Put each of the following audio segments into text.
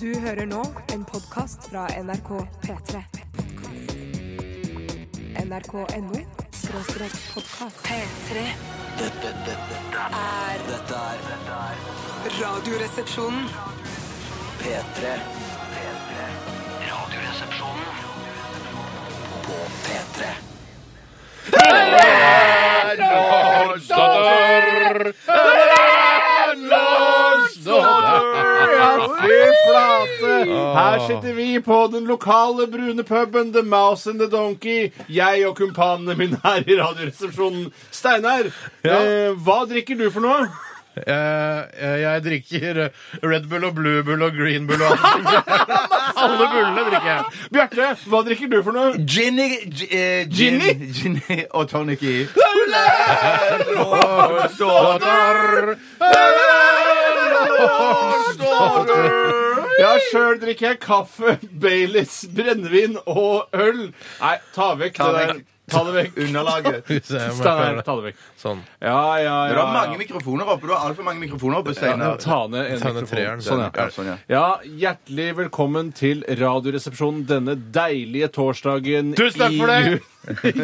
Du hører nå en podkast fra NRK P3. NRK.no skråstrek podkast. P3 Dette, dette, dette, er dette er dette er Radioresepsjonen. P3. P3. Radioresepsjonen på P3. Ja, fy flate! Ah. Her sitter vi på den lokale brune puben The Mouse and the Donkey. Jeg og kumpanene mine her i Radioresepsjonen. Steinar, Ja. eh, hva drikker du for noe? Jeg, jeg drikker eh, Red Bull og Blue Bull og Green Bull og alle alle bullene drikker jeg. Bjarte, hva drikker du for noe? Ginny, gi- eh, gin, Ginny? Ginny og tonic i. Ja, sjøl drikker jeg kaffe, Baileys, brennevin og øl. Nei, ta vekk Ta det vekk. der. Ta det vekk. Underlaget. Det Så jeg må Steinar, føle- ta det vekk. Sånn. Ja, ja, ja. var mange ja. mikrofoner oppe. Det var altfor mange mikrofoner oppe, Steinar. Ta ned en Ta ned mikrofon. treeren, Sånn, den. ja. Ja, sånn, ja. Ja, hjertelig velkommen til Radioresepsjonen denne deilige torsdagen Tusen takk for det! i ju-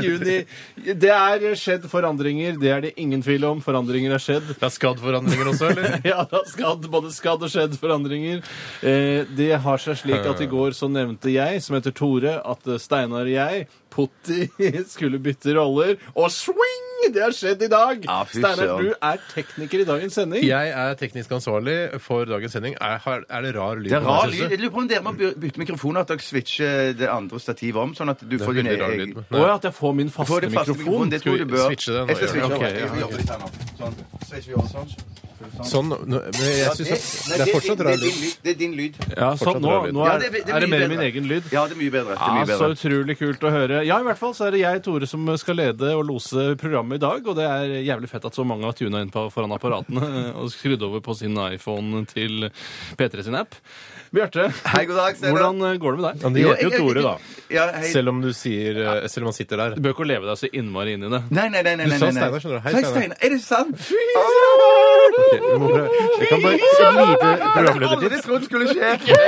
juni. Det er skjedd forandringer, det er det ingen tvil om. Forandringer er skjedd. Det er skadd forandringer også, eller? Ja, det har skadd, både skadd og skjedd forandringer. Eh, det har seg slik at i går så nevnte jeg, som heter Tore, at eh, Steinar og jeg, Potti, skulle bytte roller. Og swing! Det har skjedd i dag! Ja, fy Steinar, søren. du er tekniker i dagens sending. Jeg er teknisk ansvarlig for dagens sending. Er, har- er det rar lyd? Det er på rar meg, lyd. synes du? Jeg lurer på om dere må by- bytte mikrofoner, at dere switcher det andre stativet om, sånn at du får din veldig rar lyd. egen Å ja, at jeg får min Får faste det faste mikrofon. mikrofon, det tror Skal jeg vi du bør. switche den? Jeg skal Ja, switche ok, den. ja, Jeg ok. får jobbe litt her nå. Sånn. Switcher vi over sånn? Sånn, nå- men jeg synes at det Nei, er din- fortsatt det rar er din lyd. lyd. Det er din lyd. Ja, sånn, Fortsatt nå, bra lyd. nå Ja, er, det- det er det blir mer bedre. min egen lyd. Ja, det er mye bedre. Det er Ja, mye så bedre. utrolig kult å høre. Ja, i hvert fall så er det jeg, Tore, som skal lede og lose programmet i dag. Og det er jævlig fett at så mange har tuna inn på, foran apparatene og skrudd over på sin iPhone til P3 sin app. Bjarte, Hei, god dag, Steinar. hvordan går det med deg? Men det Jo, heter jo jeg- jeg- Tore, da. Ja, hei. Selv om du sier eh, Selv om han sitter der. Du bør ikke leve deg så innmari inn i det. Nei, nei, nei. nei, Du nei, sa nei. Steinar, skjønner du. Hei, Sa jeg Steinar. Er det sant? Fy Ok, eh, vi må prøve. Jeg kan bare et lite programledertips. Aldri trodd skulle skje.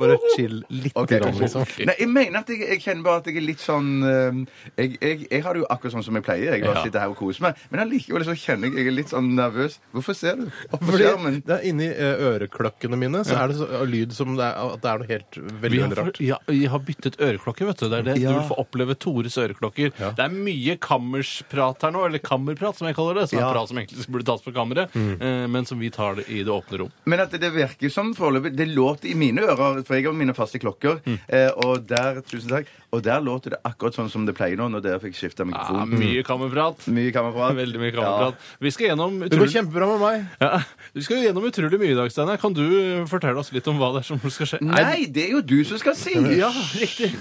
Bare chill litt, Ok. grann, liksom. Nei, jeg mener at jeg, jeg kjenner bare at jeg er litt sånn eh, jeg, jeg, jeg har det jo akkurat sånn som jeg pleier. Jeg bare Ja. sitter her og koser meg. Men allikevel så kjenner jeg jeg er litt sånn nervøs. Hvorfor ser du på Fordi skjermen? det er Inni eh, øreklokkene mine så er det så, lyd som det er, at det er noe helt Vi veldig har, veldig rart. ja, vi har byttet øreklokker, vet du. Det er det. Ja. Du vil få oppleve Tores øreklokker. Det er mye kammersprat her nå, eller kammerprat, som jeg kaller det. Som Ja. er prat som egentlig burde tas på kammeret, eh, men som vi tar det i det åpne rom. Men at det virker som foreløpig Det låt i mine ører, for jeg har mine faste klokker. Mm. Eh, og der tusen takk, og der låter det akkurat sånn som det pleier nå, når dere fikk skifta Ja, mikrofon. Ah, Mm. Mm. mye kammerprat. Mye kammerprat. Veldig mye kammerprat. Vi skal gjennom Det går utrolig, kjempebra med meg. ja, vi skal gjennom utrolig mye i dag, Steinar. Kan du eh, fortelle oss litt om hva det er som skal skje? Nei, det er jo du som skal si! Ja, Ah, riktig.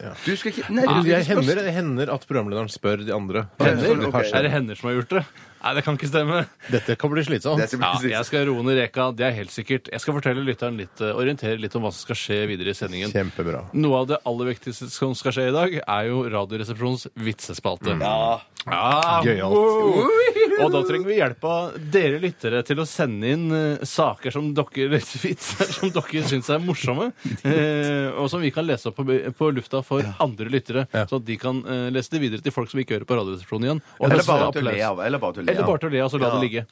Ja. Du skal ikke Nei, Det du skal ikke hender, spørre. det hender at programlederen spør de andre. Det Hender? sånn- har Ok. Er skjedd. det hender som har gjort det? Nei, det kan ikke stemme. Dette kan bli slitsomt. Dette blir Ja, sist. Ah, jeg skal roe ned reka, det er helt sikkert. Jeg skal fortelle lytteren litt, eh, orientere litt om hva som skal skje videre i sendingen. Kjempebra. Noe av det aller viktigste som skal skje i dag, er jo Radioresepsjonens vitsespalte. Ja. Mm. Gøyalt. wow. Og da trenger vi hjelp av dere lyttere til å sende inn eh, saker som dere eller vitser som dere syns er morsomme, eh, og som vi kan lese opp på, på lufta for andre lyttere, Ja. så at de kan eh, lese det videre til folk som ikke hører på Radioresepsjonen igjen. Og Eller høste bare til å applaus. le av. Eller bare til å le Eller bare av. til å le, og så la Ja. det ligge.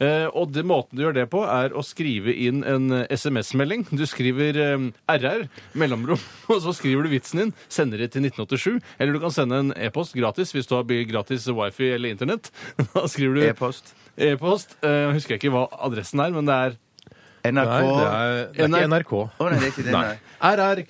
Eh, og det, måten du gjør det på, er å skrive inn en eh, SMS-melding. Du skriver eh, RR, mellomrom, og så skriver du vitsen din, sender det til 1987. Eller du kan sende en e-post gratis hvis du har bil- gratis wifi eller internett. Da skriver du E-post. e-post. Eh, husker jeg ikke hva adressen er, men det er Nei, NRK det er, det er ikke NRK. Å nei, det er ikke det, nei.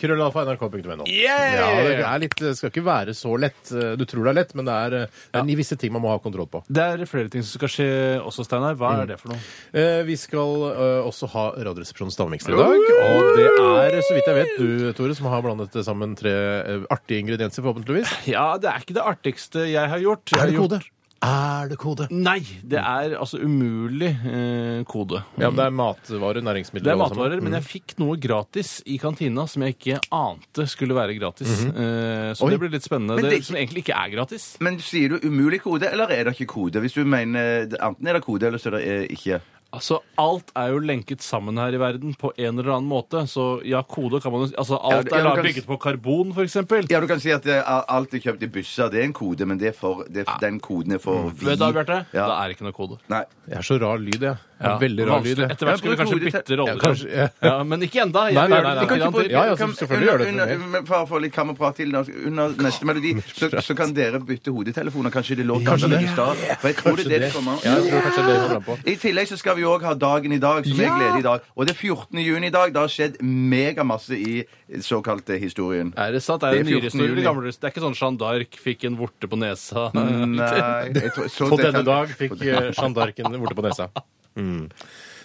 rr.krøllalfa.nrk.no. Ja, det er litt, det skal ikke være så lett. Du tror det er lett, men det er, eh, det er visse ting man må ha kontroll på. det er flere ting som skal skje også, Steinar. Hva Mm. er det for noe? Eh, Vi skal eh, også ha Radioresepsjonens stavmikser i dag. Og det er, så vidt jeg vet, du, Tore, som har blandet sammen tre eh, artige ingredienser, forhåpentligvis. Ja, det er ikke det artigste jeg har gjort. Jeg har gjort- Er det kode? Nei, det er altså umulig eh, kode. Ja, men det er matvarer, næringsmidler Det er og alt sammen. matvarer, men Mm. jeg fikk noe gratis i kantina som jeg ikke ante skulle være gratis. Eh, Så det blir litt spennende. Mhm. Men Det, det er ikke- som egentlig ikke er gratis. Men sier du umulig kode, eller er det ikke kode? Hvis du mener Enten er det kode, eller så er det eh, ikke. Altså, alt er jo lenket sammen her i verden på en eller annen måte. Så ja, kode kan man jo si. Altså, alt Ja, ja, er du da kan- bygget på karbon, for eksempel. Ja, du kan si at eh, alt er kjøpt i busser. Det er en kode, men det er for, det Ah. er, den koden er Mm. for vi. Vet du, da, Bjarte? Ja. Da er det ikke noe kode. Nei. Jeg er så rar lyd, jeg. jeg Ja, er veldig rar lyd. vanskelig. jeg. Etter hvert skal vi Ja, kanskje kode til- bytte Ja, rolle. kanskje, ja. Ja, men ikke enda. Jeg- Nei, nei, nei, jeg- nei. Vi kan ikke jeg- bruke- Ja, ja, vi kan- selvfølgelig gjør det for under- meg. under- men for- for litt Kan vi prate til da, under neste melodi, så, så kan dere bytte hodetelefoner. Kanskje det lå Kanskje det. annerledes da. For jeg tror det er det det kommer an Ja, jeg tror kanskje det kommer an på. I tillegg så skal vi òg ha dagen i dag, som jeg gleder i dag. Og det er 14. juni i dag. Det har skjedd megamasse i eh, såkalte historien. Er det sant? Er Det det, er en nyere 14. historie eller juni. gamle historie? Det er ikke sånn Jeanne d'Arc fikk en vorte på nesa? Nei jeg tror, så På det denne kan- dag fikk eh, Jeanne d'Arc en vorte på nesa. Det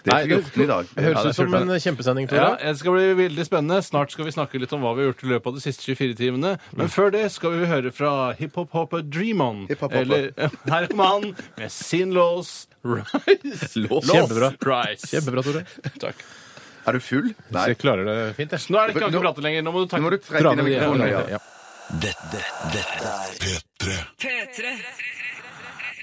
Nei, er 14. i Høres dag. det er ut som fullt av en kjempesending, Ja, Tore. det skal bli veldig spennende. Snart skal vi snakke litt om hva vi har gjort i løpet av de siste 24 timene. Men Mm. før det skal vi høre fra hiphop-hopper Dream On. Hiphop-hopper. Eller her kommer han med sin lås Rise. Lås. Kjempebra. Rise. Kjempebra, Tore. Takk. Er du full? Så Nei. jeg klarer det fint, jeg. Nå er det ikke annet å prate lenger. Nå må du Nå må takke. du trekke inn i mikrofonen. Ja, Ja. ja. Dette, dette er P3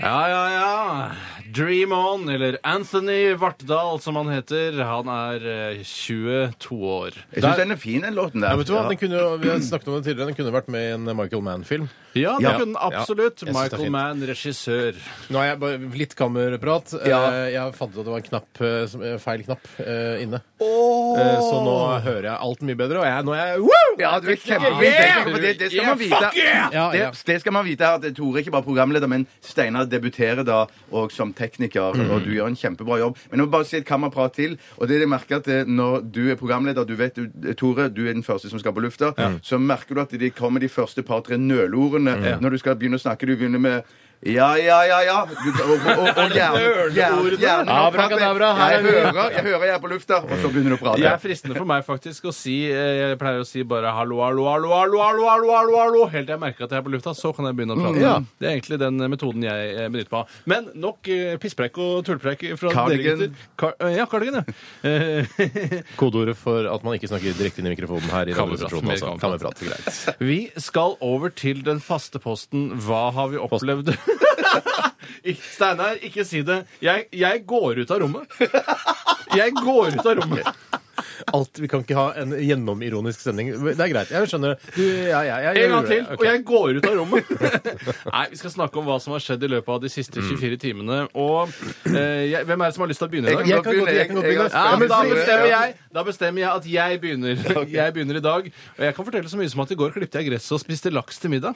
Ja, ja, ja. Dream On, eller Anthony Vartdal, som han heter. Han er eh, 22 år. Jeg syns den er fin, den låten der. Ja, vet du hva? Den kunne, jo- vi har snakket om det tidligere, den kunne vært med i en Michael Mann-film. Ja, det Ja. kunne han Ja. absolutt. Jeg synes det er Michael fint. Mann, regissør. Nå er jeg bare litt kammerprat. Ja. Eh, Jeg fant ut at det var en knapp, eh, som- eh, feil knapp eh, inne. Eh, Så nå hører jeg alt mye bedre, og jeg, nå er jeg woo! Ja, du er kjempeflink. for Det, det skal man vite. Ja, ja. Det, det skal man vite at Tore er ikke bare programleder, men Steinar debuterer da og som tekniker. Mm. Og du gjør en kjempebra jobb. Men jeg må bare si et kammerprat til. Og det jeg merker at eh, Når du er programleder, du vet, du- Tore, du er den første som skal på lufta, så merker du at de kommer de første par-tre nølordene når du skal begynne å snakke. Du begynner med ja, ja, ja, ja. Du, og, og, og, og gjerne, gjerne, gjerne Abrakadabra, her er Jeg vi. hører, jeg hører jeg er på lufta, og så begynner du å prate. Det er fristende for meg faktisk å si eh, Jeg pleier å si bare hallo, hallo, hallo, hallo, hallo, hallo, hallo, hallo helt til jeg merker at jeg er på lufta. Så kan jeg begynne å prate. ja. Det er egentlig den eh, metoden jeg eh, benytter meg av. Men nok eh, pisspreik og tullpreik fra Cardigan. dere gutter. Car eh, ja, Cardigan, ja. Eh, Kodeordet for at man ikke snakker direkte inn i mikrofonen her. i Kammerprat, radioresepsjonen, altså. mer kammerprat. Kammerprat, greit. vi skal over til den faste posten Hva har vi opplevd? Ikke- Steinar, ikke si det. Jeg, jeg går ut av rommet. Jeg går ut av rommet. Alt, Vi kan ikke ha en gjennomironisk sending. Det er greit. Jeg skjønner det. Du, ja, ja, jeg, En gang til, Ok. og jeg går ut av rommet. Nei, vi skal snakke om hva som har skjedd i løpet av de siste 24 timene. Og eh, jeg, hvem er det som har lyst til å begynne i Eh, dag? Jeg kan godt- jeg kan godt begynne. Ja, men da har- bestemmer jeg Da bestemmer jeg at jeg begynner. Jeg begynner i dag. Og jeg kan fortelle så mye som at i går klippte jeg gresset og spiste laks til middag.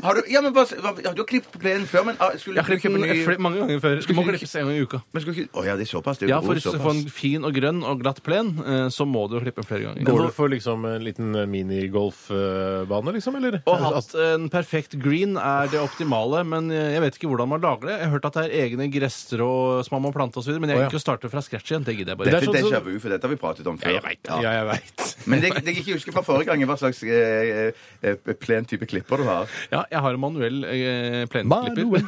Har du, ja, men hva, hva, ja, du har klippet plenen før, men ah, skulle Jeg har du klippet kjøpe den ny fl- mange ganger før. Du må ikke- klippes en gang i uka. men skulle ikke, Å ja, det er såpass. Det er Ja, jo For å såpass. få en fin og grønn og glatt plen, eh, så må du klippe den flere ganger. Går du for liksom en liten minigolfbane, liksom? Eller? Å ha hatt en perfekt green er det optimale, men eh, jeg vet ikke hvordan man lager det. Jeg har hørt at det er egne gresstrå som man må plante osv., men jeg Å, ja. liker å starte fra scratch igjen. Det gidder jeg Dette bare. er Det er sånn som- déjà vu, for dette har vi pratet om før. jeg vet Ja. Ja, jeg veit. Men det, det jeg ikke husker fra forrige gang, er hva slags eh, eh, plentype klipper du har. Ja, jeg har en manuell eh, plenklipper.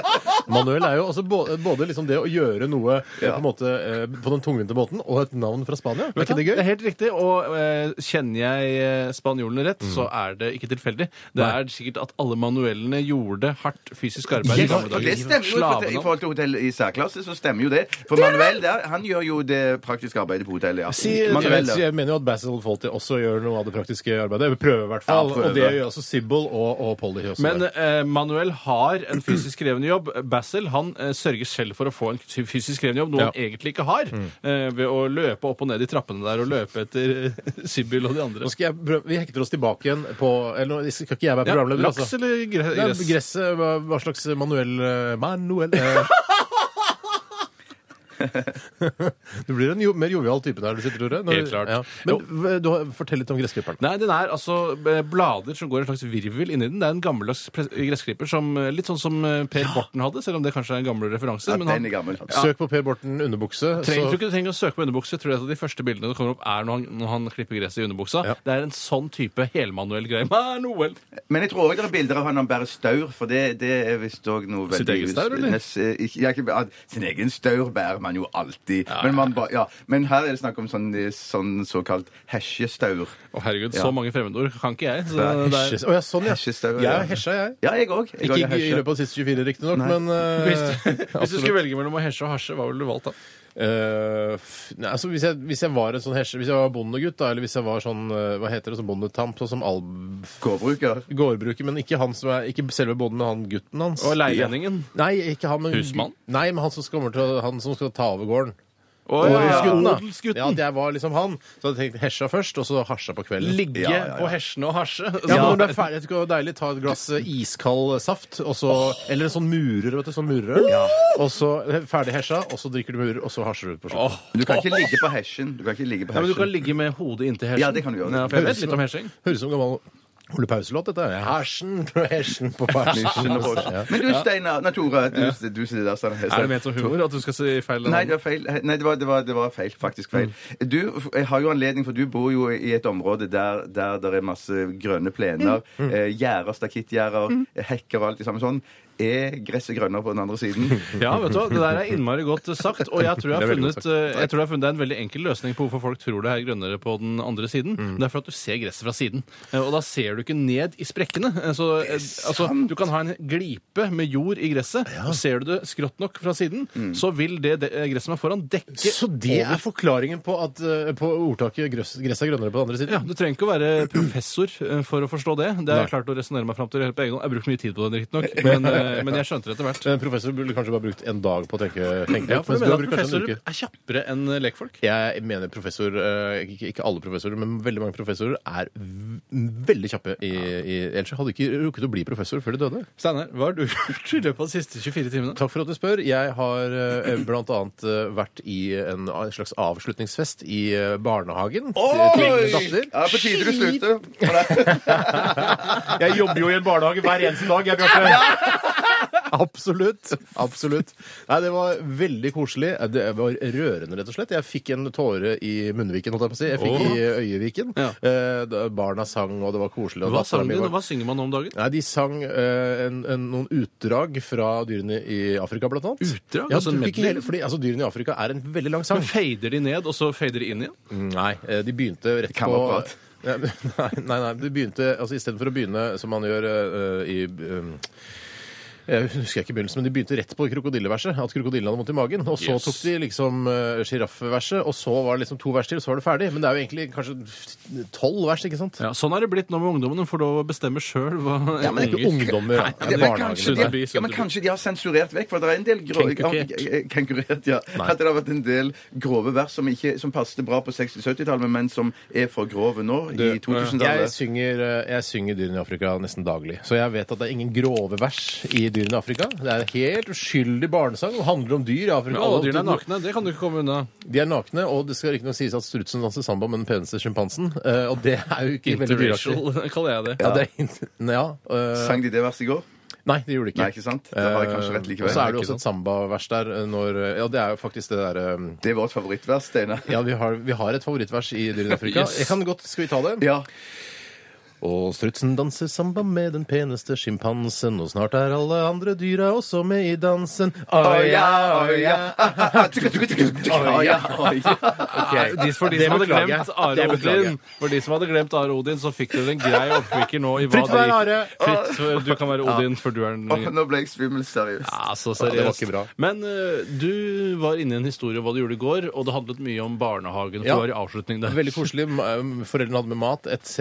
Manuel er jo også både, både liksom det å gjøre noe eh, på, en måte, eh, på den tungvinte måten, og et navn fra Spania. Er ikke det er gøy? helt riktig, og eh, kjenner jeg eh, spanjolene rett, Mm. så er det ikke tilfeldig. Det Nei. er sikkert at alle manuellene gjorde hardt fysisk arbeid Ja, i gamle for det dager. stemmer jo i forhold til- I Slavene. forhold til hotell i særklasse, så stemmer jo det. For Manuel der, han gjør jo det praktiske arbeidet på hotellet. Ja. Si, Manuel, jeg, da. jeg mener jo at Basil Fawlty også gjør noe av det praktiske arbeidet. Vi Prøver i hvert fall. Ja, prøver. Og det gjør også Sibbel og, og Polly. også. Men der. eh, Manuel har en fysisk krevende jobb. Basil han eh, sørger selv for å få en fysisk krevende jobb, noe han Ja. egentlig ikke har, eh, ved å løpe opp og ned i trappene der og løpe etter eh, Sibyl og de andre. nå skal jeg prøve, vi hekter oss tilbake igjen på eller, nå Skal ikke jeg være Ja, programleder, altså. laks eller gre- Nei, gress? Gresset, hva, hva slags manuell eh, Manuell eh. Du blir en jo, mer jovial type der du sitter, Tore. Når- Helt klart. Ja. Men hva- du, har- fortell litt om gressklipperen. Nei, den er altså eh, blader som går en slags virvel inni den. Det er en gammeldags pres- gressklipper, som, eh, litt sånn som eh, Per Borten hadde, selv om det kanskje er en gammel referanse. Ja, men den han er gammel. Søk på Per Borten underbukse. trenger, så- tror ikke du trenger å søke på underbukse. Jeg Tror at De første bildene som kommer opp, er når han, når han klipper gresset i underbuksa. Ja. Det er en sånn type helmanuell greie. Manuel! Men jeg tror også det er bilder av han han bærer staur, for det, det er visst òg noe Sitt veldig eget staur, eller? Nes- eh, ikke- ja, ikke- at Sin egen staur bærer man jo alltid. Men, man ba, ja. Men her er det snakk om sånn, sånn såkalt hesjestaur. Å, herregud, Ja. så mange fremmedord kan ikke jeg. Så det Nei, er- Hesjes- Å ja, sånn, ja. Hesjestaur, Jeg ja. har hesja, jeg. Ja, jeg òg. Ikke i løpet av de siste 24, riktignok, Nei. men eh, hvis, hvis du absolutt. skulle velge mellom å hesje og hasje, hva ville du valgt da? Eh, f- nei, altså hvis jeg, hvis jeg var en sånn hesje, hvis jeg var bondegutt, da, eller hvis jeg var sånn eh, hva heter det, sånn bondetamp, sånn som all Gårdbruker. gårdbruker, men ikke, han som er, ikke selve bonden, men han gutten hans. Og leilendingen? Nei, ikke han, men Husmann? Nei, men han som, skal, kommer til å- han som skal ta over gården. Å, ja. Odelsgutten, da. Odelsgutten. Ja, at jeg var liksom han. Så hadde jeg tenkt hesja først, og så hasja på kvelden. Ligge Ja, ja, ja. på hesjene og hasje. Ja, men når du er ferdig, jeg tror det var deilig, ta et glass eh, iskald saft, og så, eller en sånn murer, vet du, sånn murerøl, og så eh, ferdig hesja, og så drikker du murer, og så hasjer du ut på slutten. Åh. Du kan ikke ligge på hesjen. Du kan ikke ligge på Ja, men du kan hesjen. ligge med hodet inntil hesjen. Ja, det kan du gjøre. Ja, for jeg vet litt om hesjing. Høres ut som gammel Ole Pause-låt, dette. er Hersen og hersen på persen. Ja. Men du, Steinar Nei, Tore. Du, du sitter der. Steinar. Er det ment som humor at du skal si feil? Nei, det var feil. Nei, det var, det var, det var feil. Faktisk feil. Mm. Du f- jeg har jo anledning, for du bor jo i et område der, der det er masse grønne plener, Mm. eh, gjerder, stakittgjerder, hekker og alt det samme sånn. Er gresset grønnere på den andre siden? Ja, vet du hva, Det der er innmari godt sagt. Og jeg tror jeg Det har er veldig funnet, godt eh, jeg tror jeg har funnet det er en veldig enkel løsning på hvorfor folk tror det er grønnere på den andre siden. Mm. Det er for at du ser gresset fra siden. Eh, Og da ser du ikke ned i sprekkene. Eh, Så, eh, altså, du kan ha en glipe med jord i gresset, og ser du det skrått nok fra siden, så vil det, det eh, gresset som er foran, dekke Mm. Så det er forklaringen på, at, eh, på ordtaket 'grøss- 'gresset er grønnere på den andre Ja, siden'? Du trenger ikke å være professor eh, for å forstå det. Det har jeg klart å resonnere meg fram til helt på egen hånd. Jeg har brukt mye tid på det, riktignok, men, eh, men jeg skjønte det etter hvert. Men En professor burde kanskje bare brukt en dag på å tenke, tenke Ja, ut, for mens du du har mener at brukt kanskje en professorer uke. er kjappere enn lekfolk? Jeg mener professor eh, Ikke ikke alle professorer, men veldig mange professorer er v- veldig kjappe. I, i, ellers hadde du ikke rukket å bli professor før de døde. Steinar, hva har du gjort i løpet av de siste 24 timene? Takk for at du spør. Jeg har eh, blant annet eh, vært i en slags avslutningsfest i eh, barnehagen. til min datter. Ja, på tide du slutter. Nei, Jeg jobber jo i en barnehage hver eneste dag, jeg, Bjarte. Absolutt. absolutt. Nei, Det var veldig koselig. Det var rørende, rett og slett. Jeg fikk en tåre i munnviken, holdt jeg på å si. Jeg fikk i øyeviken. Ja. Eh, da Barna sang, og det var koselig. og Hva datteren sang min du, var- og hva synger man nå om dagen? Nei, De sang eh, en, en, noen utdrag fra dyrene i Afrika, blant annet. Utdrag? Ja, Altså en du, ikke medley? hele, fordi, altså, dyrene i Afrika er en veldig lang sang. Men Fader de ned, og så fader de inn igjen? Nei, eh, de begynte rett på Kammerprat. Nei, nei, nei, de begynte altså Istedenfor å begynne som man gjør eh, i eh, jeg husker ikke begynnelsen, men De begynte rett på krokodilleverset. At krokodillen hadde vondt i magen. Og så Yes. tok de liksom eh, sjiraffverset, og så var det liksom to vers til, og så var det ferdig. Men det er jo egentlig kanskje tolv vers, ikke sant? Ja, sånn er det blitt nå med ungdommen. De får lov å bestemme sjøl hva Ja, men det er ikke ungdommer. Nei, det det- er men barnehagen. kanskje Sundby, de- Ja, men Sundby. kanskje de har sensurert vekk, for det er en del grove Kenkurert. Ja, Kenkurert, ja. Nei. At det har vært en del grove vers som, ikke, som passet bra på 60-70-tallet, men som er for grove nå, i Jeg 2000-tallet. synger, eh, jeg synger Dyrene i Afrika nesten daglig. Så jeg vet at det er ingen grove vers i Dyrene i Afrika. Det er en helt uskyldig barnesang. Det handler om dyr i Afrika. Men alle og dyrene er du- nakne. Det kan du ikke komme unna. De er nakne, og det skal ikke noe sies at strutsen danser samba med den peneste sjimpansen. eh, Og det er jo ikke veldig dyraktig. Interracial kaller jeg det. Ja, det er inter- ja, eh, Sang de det verset i går? Nei, det gjorde det ikke. Nei, ikke sant? Da har jeg kanskje Eh, Og så rett er likevel. det jo også et sambavers der eh, når eh, Ja, det er jo faktisk det derre Det er vårt favorittvers, Steinar. ja, vi har, vi har et favorittvers i Dyrene i Afrika. Yes. Jeg kan godt, Skal vi ta det? Ja. Og strutsen danser samba med den peneste sjimpansen, og snart er alle andre dyra også med i dansen. Å ja, å ja. Å ja, å ja. Nei, de, for de Det som hadde beklager glemt jeg. Are Det beklager Odin, for de som hadde glemt Are Odin, så fikk dere en grei oppkvikker nå i hva Fritt for de- Are. Fritt, for- du kan være Odin, for du er den Å, Nå ble jeg svimmel, seriøst. Ja, så Ja, det var seriøst. ikke bra. Men eh, du var inne i en historie om hva du gjorde i går, og det handlet mye om barnehagen. For Ja. du var i avslutning der. Veldig koselig. M- eh, Foreldrene hadde med mat etc.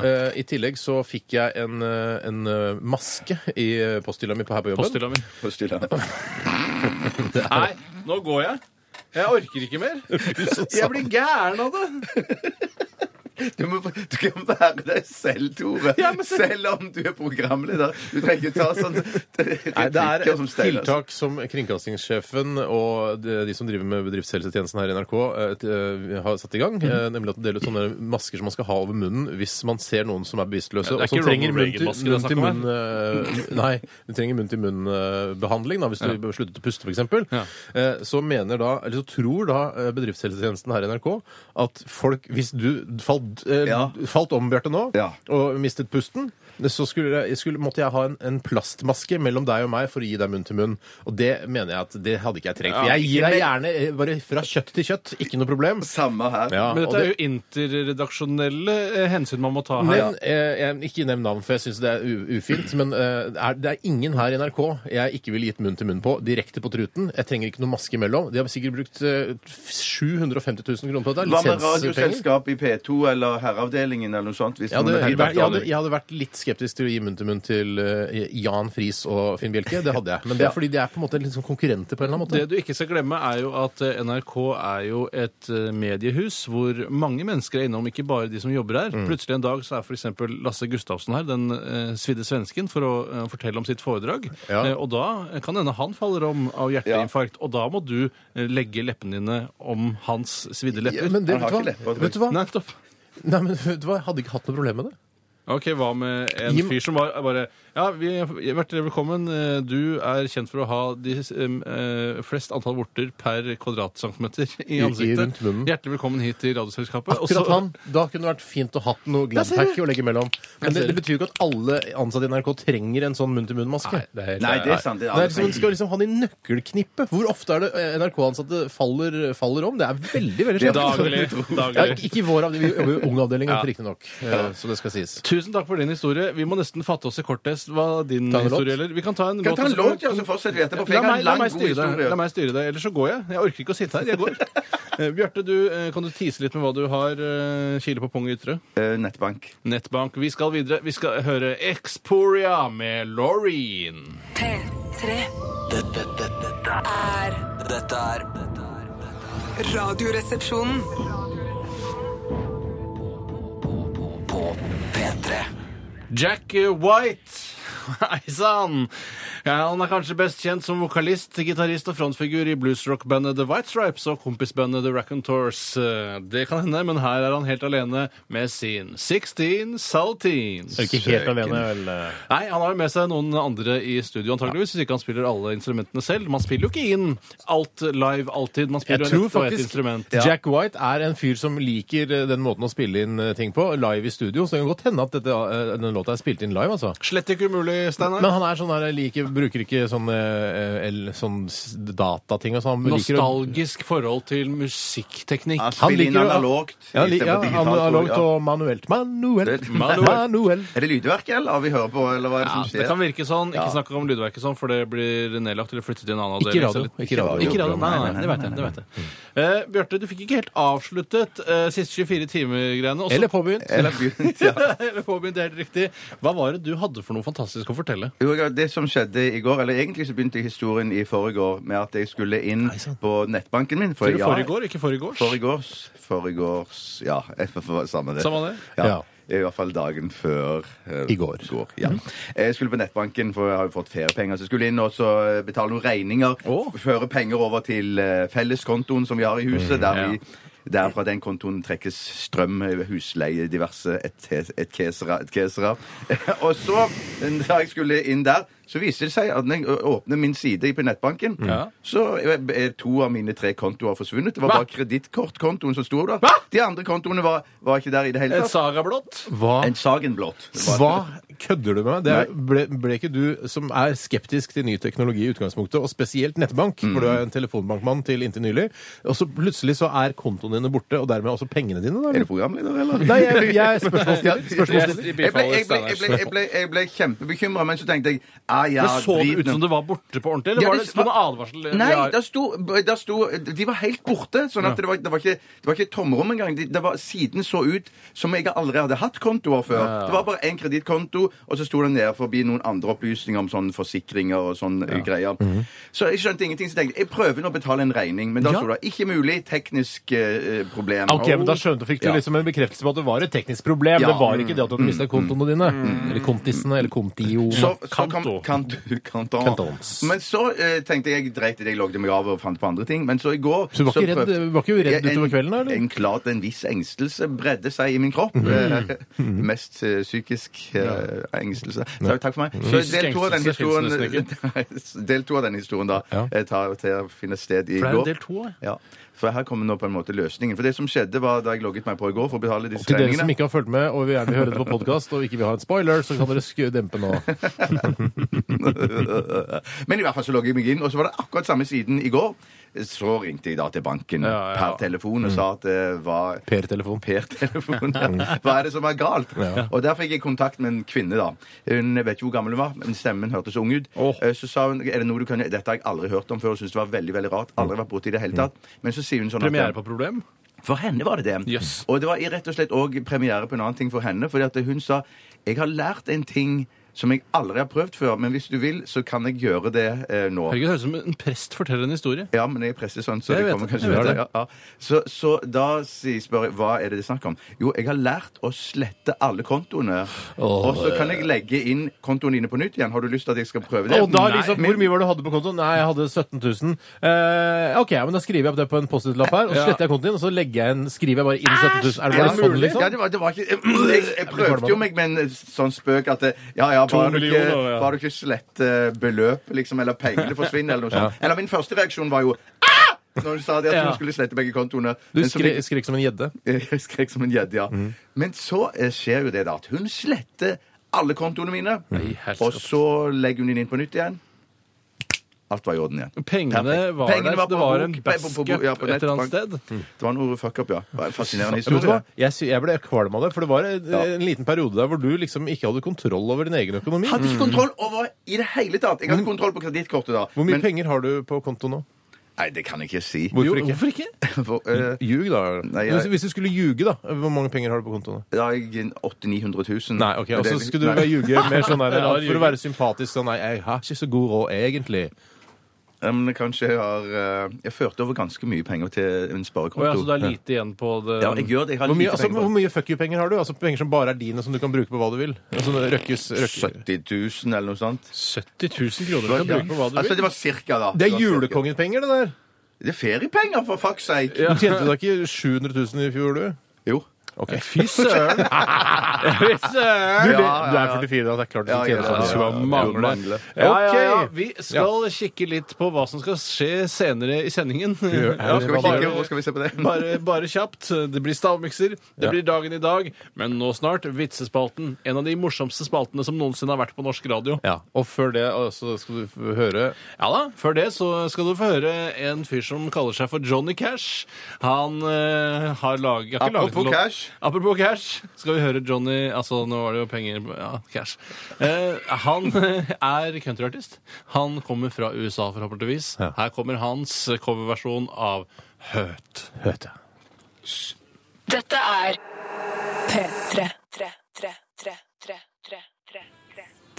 Eh, I tillegg så fikk jeg en, eh, en eh, maske i eh, posthylla mi på her på jobben. Posthylla mi. Postilla. Nei, nå går jeg. Jeg orker ikke mer. Jeg blir gæren av det. Du, må, du kan være deg selv, Tore. Ja, men- Selv om du er programleder. Du trenger ikke ta sånn Nei, det er replikker et som altså. Steinar. tiltak som kringkastingssjefen og de, de som driver med bedriftshelsetjenesten her i NRK, eh, t- eh, har satt i gang. eh, Nemlig at de deler ut sånne masker som man skal ha over munnen hvis man ser noen som er bevisstløse, Ja, det er og som ikke trenger Ronald munn til, Reagan-masker munn til det er snakk om munn eh, Nei, du trenger munn-til-munn-behandling hvis du sluttet å puste, f.eks. Ja. Så mener da, eller så tror da eh, bedriftshelsetjenesten her i NRK at folk Hvis du falt, eh, Ja. falt om, Bjarte, nå, Ja. og mistet pusten så skulle, jeg skulle, måtte jeg ha en, en plastmaske mellom deg og meg for å gi deg munn til munn. Og det mener jeg at det hadde ikke jeg trengt. For jeg gir deg gjerne eh, bare fra kjøtt til kjøtt, ikke noe problem. Samme her. Ja, Men og dette er jo interredaksjonelle eh, hensyn man må ta her. Men eh, jeg, Ikke nevn navn, for jeg syns det er u ufint. Men eh, er, det er ingen her i NRK jeg ikke ville gitt munn til munn på. Direkte på truten. Jeg trenger ikke noe maske imellom. De har sikkert brukt eh, 750 000 kroner på dette. Hva med Lisenspenger. radioselskap i P2 eller Herreavdelingen eller noe sånt? Hvis Jeg hadde, noen jeg, hadde vært hadde, der? jeg hadde vært litt skeptisk til å gi munn til munn til eh, Jan Friis og Finn Bjelke. Det hadde jeg. Men det er fordi de er på en måte litt sånn konkurrenter på en eller annen måte. Det du ikke skal glemme, er jo at eh, NRK er jo et eh, mediehus hvor mange mennesker er innom, ikke bare de som jobber Mm. her. Plutselig en dag så er f.eks. Lasse Gustavsen her, den eh, svidde svensken, for å eh, fortelle om sitt foredrag. Ja. Eh, og da kan hende han faller om av hjerteinfarkt, og da må du eh, legge leppene dine om hans svidde Ja, lepper. men det, Han har vet, ikke du hva? lepper, vet du hva? Nei, topp. Nei, men vet du hva? Jeg hadde ikke hatt noe problem med det. Ok, hva med en Jim- fyr som var bare Ja, vi, hjertelig velkommen. Eh, Du er kjent for å ha de, em, eh, flest antall vorter per kvadratcentimeter i I- i ansiktet. rundt munnen. Hjertelig velkommen hit til Radioselskapet. Og så- Akkurat han. Da kunne det vært fint å hatt noe Gladpack å legge imellom. Men det, det betyr jo ikke at alle ansatte i NRK trenger en sånn munn-til-munn-maske. Det er Nei, det er sant. Det er Nei, aldri- så man skal liksom ha den i nøkkelknippet. Hvor ofte er det eh, NRK-ansatte faller, faller om? Det er veldig veldig sjelden. Daglig. Ja, daglig. ikke- ikke i vår avdeling, vi jobber jo i Ung avdeling, Ja. riktignok. eh, Så det skal sies. Tusen takk for din historie. Vi må nesten fatte oss i kortest hva din Ta en historie låt. gjelder. Vi kan ta en Kan ta en også. låt, ja, så fortsetter vi etterpå. for La jeg har meg, en la, lang, meg god styre det, historie. la meg styre det, ellers så går jeg. Jeg orker ikke å sitte her. Jeg går. Eh, Bjarte, du, eh, kan du tease litt med hva du har eh, kile på pung ytre? Eh, Nettbank. Nettbank. Vi skal videre. Vi skal høre Exporia med Laureen. P3 Dette, dette, dette, er er- dette er dette er- Radioresepsjonen. På P3 Jack White. Hei sann! Ja, han er kanskje best kjent som vokalist, gitarist og frontfigur i bluesrockbandet The White Stripes og kompisbandet The Raconteurs. Eh, Det kan hende, men her er han helt alene med sin 16 Saltines. Er du ikke helt alene, vel? eh? Nei, han har jo med seg noen andre i studio, antageligvis, hvis ikke han spiller alle instrumentene selv. Man spiller jo ikke inn alt live alltid. Man Jeg spiller jo tror ett og ett faktisk instrument. Jack White er en fyr som liker eh, den måten å spille inn eh, ting på, live i studio. Så det kan godt hende at dette, eh, denne låta er spilt inn live, altså. Slett ikke umulig, Steinar. Men han er sånn der, liker, bruker ikke sånne, eh, el- sånn s- datating og sånn. Han liker å- Nostalgisk forhold til musikkteknikk. Han spiller inn liker å- analogt. Ja, li, ja istedenfor digitalt, analogt ja. og manuelt. Manuelt! Det- Manuelt! Er det lydverket, eller har vi hører på, eller hva er det Ja, som det skjer? kan virke sånn. Ikke Ja. snakk om lydverket sånn, for det blir nedlagt eller flyttet til en annen Ikke avdeling. radio. Så litt- Ikke radio. Mm. Ikke radio. Nei, nei, nei, det vet jeg. det vet jeg. Eh, Bjarte, du fikk ikke helt avsluttet eh, siste 24 timer-greiene. og så- Eller påbegynt. Eller begynt, ja. Eller påbegynt, det er helt riktig. Hva var det du hadde for noe fantastisk å fortelle? Jo, jeg- Det som skjedde i går, eller egentlig så begynte historien i forrige år med at jeg skulle inn på nettbanken min. For Sier du jeg- forrige går, ikke forrige gårs? Forgårs, forgårs Ja, jeg får- får- samme det. Samme det. Ja. Ja. I hvert fall dagen før eh, I går. ja. Mhm. Jeg skulle på nettbanken, for jeg har jo fått feriepenger. Så jeg skulle inn og så eh, betale noen regninger. Å. f- Føre penger over til eh, felleskontoen som vi har i huset. der vi der fra den kontoen trekkes strøm, eh, husleie, diverse et- et kesera, et kesera. Og så, da jeg skulle inn der, så viser det seg at når jeg ø- åpner min side på nettbanken, Ja. så er to av mine tre kontoer forsvunnet. Det var Hva? bare kredittkortkontoen som sto der. Hva? De andre kontoene var, var ikke der i det hele Et tatt. sagablått? Hva, En Sagenblått. Det var- hva kødder du med? Det er- ble, ble ikke du, som er skeptisk til ny teknologi i utgangspunktet, og spesielt nettbank, for du er en telefonbankmann til inntil nylig, og så plutselig så er kontoene dine borte, og dermed også pengene dine, da? Er eller? du programleder, eller? Nei, jeg, jeg er spørsmålsstiller. Jeg spørsmålsstiller. Jeg ble, jeg ble, bifaller jeg ble, jeg Steinars. ble, jeg ble kjempebekymra, men så tenkte jeg ah, ja, Men så det drit ut nå. som det var borte på ordentlig, eller Ja, var det det sto det var- advarsel? Nei, Vi har- der sto, der sto De var helt borte. Sånn at det, var, det, var ikke, det var ikke et tomrom engang. De- Det var, siden så ut som jeg aldri hadde hatt kontoer før. Det var bare én kredittkonto, og så sto det ned forbi noen andre opplysninger om sånne forsikringer og sånne eh, greier. Så jeg skjønte ingenting. Så tenkte jeg jeg prøver nå å betale en regning, men da Ja. sto det ikke mulig, teknisk eh, problem. Ok, men Da skjønte fikk du Ja. liksom en bekreftelse på at det var et teknisk problem. Ja. Mm. Det var ikke det at du hadde mista kontoene dine. Eller kontisene, eller kontio. Så, så Kanto. kom, Kant, kanton. Kantons. Men så eh, tenkte jeg dreit i det, jeg logget meg av og fant på andre ting. Men så i går Så du var ikke redd- prøvde- du var ikke redd Ja, en- utover kvelden, da, eller? Mhm. En, klart en viss engstelse bredde seg i min kropp. Eh, Mest eh, psykisk eh, engstelse. Så, takk for meg. Så Fysisk del to av den engstelse finnes historien, Nei, del to av den historien da, Ja. eh, tar til å finne sted i For det er jo går. del to, ja. Ja, for her kommer nå på en måte løsningen. For det som skjedde var da jeg logget meg på i går for å betale disse Til dere som regningene ikke har fulgt med og vil gjerne høre det på podkast og ikke vil ha en spoiler, så kan dere sk dempe nå. Men i hvert fall så logget jeg meg inn, og så var det akkurat samme siden i går. Så ringte jeg da til banken Ja, Mm. ja, ja. per telefon og sa at eh, det var Per-telefon. Per-telefon. Mm. Hva er det som er galt? Og Der fikk jeg kontakt med en kvinne. da. Hun jeg vet ikke hvor gammel hun var, men stemmen hørtes ung ut. Åh. Eh, Så sa hun er det noe du kan gjøre? Dette har jeg aldri hørt om før. og Synes det var veldig, veldig rart. Aldri Mm. vært borti det hele tatt. Men så sier hun sånn Premiere på Problem. For henne var det det. Jøss. Og det var i rett og slett òg premiere på en annen ting for henne. fordi at hun sa jeg har lært en ting som jeg aldri har prøvd før, men hvis du vil, så kan jeg gjøre det eh, nå. Herregud, det høres ut som en prest forteller en historie. Ja, men jeg presser sånn, så Jeg det vet kommer det, kanskje jeg ut. vet Ja, ja. Så, så da sier- spør jeg hva er det det er snakk om. Jo, jeg har lært å slette alle kontoene. og så kan jeg legge inn kontoene dine på nytt igjen. Har du lyst til at jeg skal prøve det? Og da Nei, liksom, men- Hvor mye var det du hadde på kontoen? Nei, jeg hadde 17 000. Eh, OK, ja, men da skriver jeg opp det på en Post-It-lapp her, og så Ja. sletter jeg kontoen din, og så legger jeg inn, skriver jeg bare inn 17 000. Er det bare sånn, liksom? Ja, det var, det var ikke jeg, jeg prøvde jo meg med en sånn spøk at det- Ja, ja, To bare du ikke, millioner, ja. bare du ikke sletter beløpet, liksom, eller pengene forsvinner, eller noe sånt. Eller min første reaksjon var jo «Ah!» når hun sa det at Ja. hun skulle slette begge kontoene. Du Men så skrek, fikk- skrek som en gjedde. Jeg skrek som en gjedde, ja. Men så eh, skjer jo det, da. At hun sletter alle kontoene mine. helst. Og så legger hun den inn på nytt igjen. Alt var i orden igjen. Pengene Perfekt. var Pengene der, var så det på var bok, en på- på- basket på- ja, på et eller annet nettbank. sted. Det var noe fuck up, ja. Det var en Ja, fascinerende vet du historie. hva? Jeg, sy- jeg ble kvalm av det, for det var en, Ja. en liten periode der hvor du liksom ikke hadde kontroll over din egen økonomi. Hadde ikke kontroll over i det hele tatt. Jeg hadde kontroll på kredittkortet da. Mm. Hvor mye men- penger har du på konto nå? Nei, det kan jeg ikke si. Hvorfor Jo, ikke? Hvorfor ikke? For, eh, Ljug, da. Nei, jeg- Hvis- Hvis du skulle ljuge, da. Hvor mange penger har du på kontoen? da har jeg 800 000. Nei, ok, Men og det- så skulle du nei. bare ljuge mer sånn der, Rar for ljuging. å være sympatisk sånn Nei, jeg har ikke så god råd, egentlig. Ja, men kanskje jeg har eh, Jeg førte over ganske mye penger til en Å ja, så sparekonto. det er lite igjen på det Ja, jeg gjør det. Jeg har Hvor mye, lite altså, penger. hvor mye fuck you-penger har du? Altså Penger som bare er dine, som du kan bruke på hva du vil? Altså, røkkes, røkkes. 70 000 eller noe sånt. 70 000 kroner du kan bruke på hva du Altså, det vil. var cirka, da. Det er var cirka. julekongen-penger, det der! Det er feriepenger, for fuck's sake! Du tjente da ikke 700 000 i fjor, du? Jo. Ok. Fy søren! Fy søren! Du, det, Ja, ja, du er ja. 44, da. Det er klart du Ja, tjener sånn. ja, Det ja, ja, skulle ja. mangle. mangle. Ja, ja, ja. Ok. Vi skal kikke litt på hva som skal skje senere i sendingen. Ja, Skal vi bare- kikke, hvor skal vi se på det? Bare, bare kjapt. Det blir stavmikser, det Ja. blir dagen i dag, men nå snart Vitsespalten. En av de morsomste spaltene som noensinne har vært på norsk radio. Ja, Og før det altså, skal du f- høre Ja da, Før det så skal du få høre en fyr som kaller seg for Johnny Cash. Han eh, har laget har ikke laget Apropos en låt. cash. Apropos cash, skal vi høre Johnny Altså, nå var det jo penger Ja, cash. Eh, han eh, er countryartist. Han kommer fra USA, forhåpentligvis. Ja. Her kommer hans coverversjon av Høt. Høte. Dette er P3.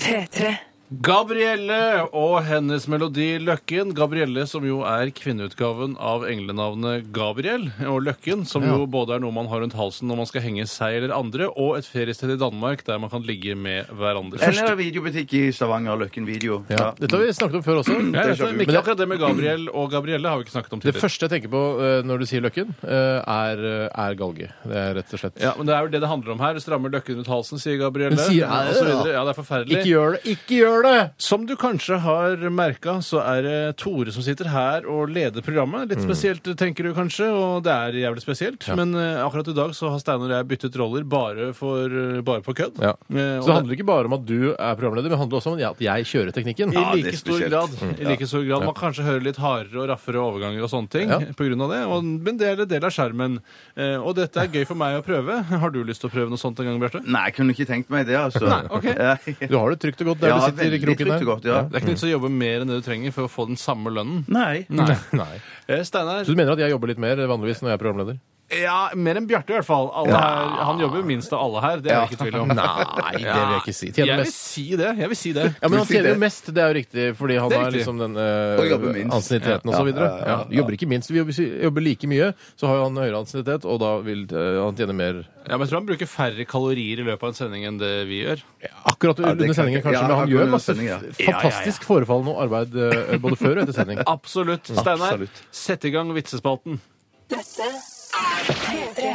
P3. Gabrielle og hennes melodi Løkken. Gabrielle som jo er kvinneutgaven av englenavnet Gabriel. Og Løkken som jo både er noe man har rundt halsen når man skal henge seg eller andre, og et feriested i Danmark der man kan ligge med hverandre. Eller videobutikk i Stavanger, Løkken Video. Ja. Dette har vi snakket om før også. Ja, jeg vet det, men Men ikke det, akkurat det med Gabriel og Gabrielle har vi ikke snakket om det tidligere. første jeg tenker på eh, når du sier Løkken, eh, er, er galge. Det er rett og slett Ja, men det er jo det det handler om her. Strammer løkken rundt halsen, sier Gabrielle. Hun sier- og så videre. ja, det er forferdelig. Ikke gjør det! Ikke gjør det! Som du kanskje har merka, så er det Tore som sitter her og leder programmet. Litt spesielt, tenker du kanskje, og det er jævlig spesielt. Men eh, akkurat i dag så har Steinar og jeg byttet roller bare, for, bare på kødd. Ja. Eh, og Så det handler ikke bare om at du er programleder, men det handler også om at jeg kjører teknikken. i Ja, det er like stor spesielt. grad. I like stor grad. Man kanskje hører litt hardere og raffere overganger og sånne ting Ja. på grunn av det, og, men det er en del av skjermen. Eh, og dette er gøy for meg å prøve. Har du lyst til å prøve noe sånt en gang, Bjarte? Nei, jeg kunne ikke tenkt meg det, altså. Nei, ok. Ja. Du har det trygt og godt der Ja, du sitter i veldig kroken trygt der. og godt, ja. Det er ikke nytt å jobbe mer enn det du trenger for å få den samme lønnen. Nei. Nei. Nei. Eh, Steinar, Så du mener at jeg jobber litt mer vanligvis når jeg er programleder? Ja, mer enn Bjarte i hvert fall. Alle her, han jobber jo minst av alle her, det er det ikke tvil om. Nei, det vil jeg ikke si. Tjener Jeg vil mest. si det. Jeg vil si det. Ja, men Du han sier tjener jo det. mest, det er jo riktig, fordi han Det er har riktig. liksom den Og jobber minst. uh, ansienniteten og så videre. Ja, ja, ja, ja. Ja, Jobber ikke minst. Vi jobber, jobber like mye, så har jo han høyere ansiennitet, og da vil eh, han tjene mer Ja, men jeg tror han bruker færre kalorier i løpet av en sending enn det vi gjør. akkurat det under kan sendingen, ikke- kanskje, ja, men han akkurat gjør under masse sending, ja. f- fantastisk forefallende arbeid eh, både før og etter sending. Absolutt. Steinar, Absolutt. sett i gang vitsespalten. Dette er P3.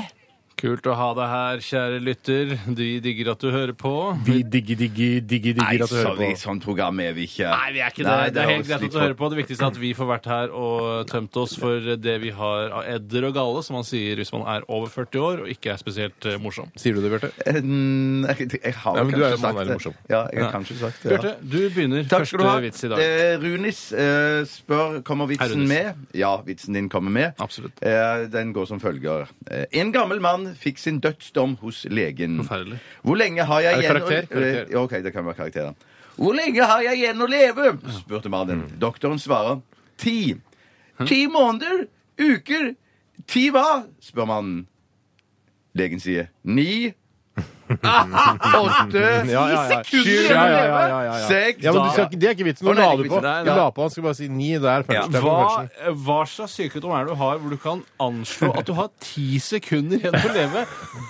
Kult å ha deg her, kjære lytter. De digger at du hører på. Vi digger, digger, digger, Nei, digger at du hører sorry, på. sånn program er vi ikke. Nei, vi er ikke det. det er helt greit at du hører på. Det viktigste er at vi får vært her og tømt oss for det vi har av edder og gale, som man sier hvis man er over 40 år og ikke er spesielt eh, morsom. Sier du det, Bjarte? Jeg, jeg har Ja, men du er jo mann, er kanskje sagt det det. morsom. Ja, jeg har kanskje sagt det. ja. Bjarte, du begynner Takk skal du første ha. vits i dag. Eh, Runis eh, spør kommer Hei, vitsen Runis. med. Ja, vitsen din kommer med. Absolutt. Eh, den går som følger. Eh, en gammel mann fikk sin dødsdom hos legen. Forferdelig. Hvor lenge har jeg Er det igjen karakter? Å, Karakter. Ja, OK, det kan være karakteren. Hvor lenge har jeg igjen å leve? spurte mannen. Mm. Doktoren svarer ti. Ti måneder? Uker? Ti hva? spør mannen. Legen sier ni. Åtte. Eh, Ja, ja, ja. Sekunder Sju, igjen ja, å ja, leve. ja, ja, ja. Seks. Ja, men du da- skal, ikke- det er ikke vitsen. Nå Å, nei, la det er du ikke på. vitsen. Nei, Du nei. la på, han skal bare si ni der først. Det er Hva, konkurransen. hva slags sykdom er det du har hvor du kan anslå at du har ti sekunder igjen til å leve?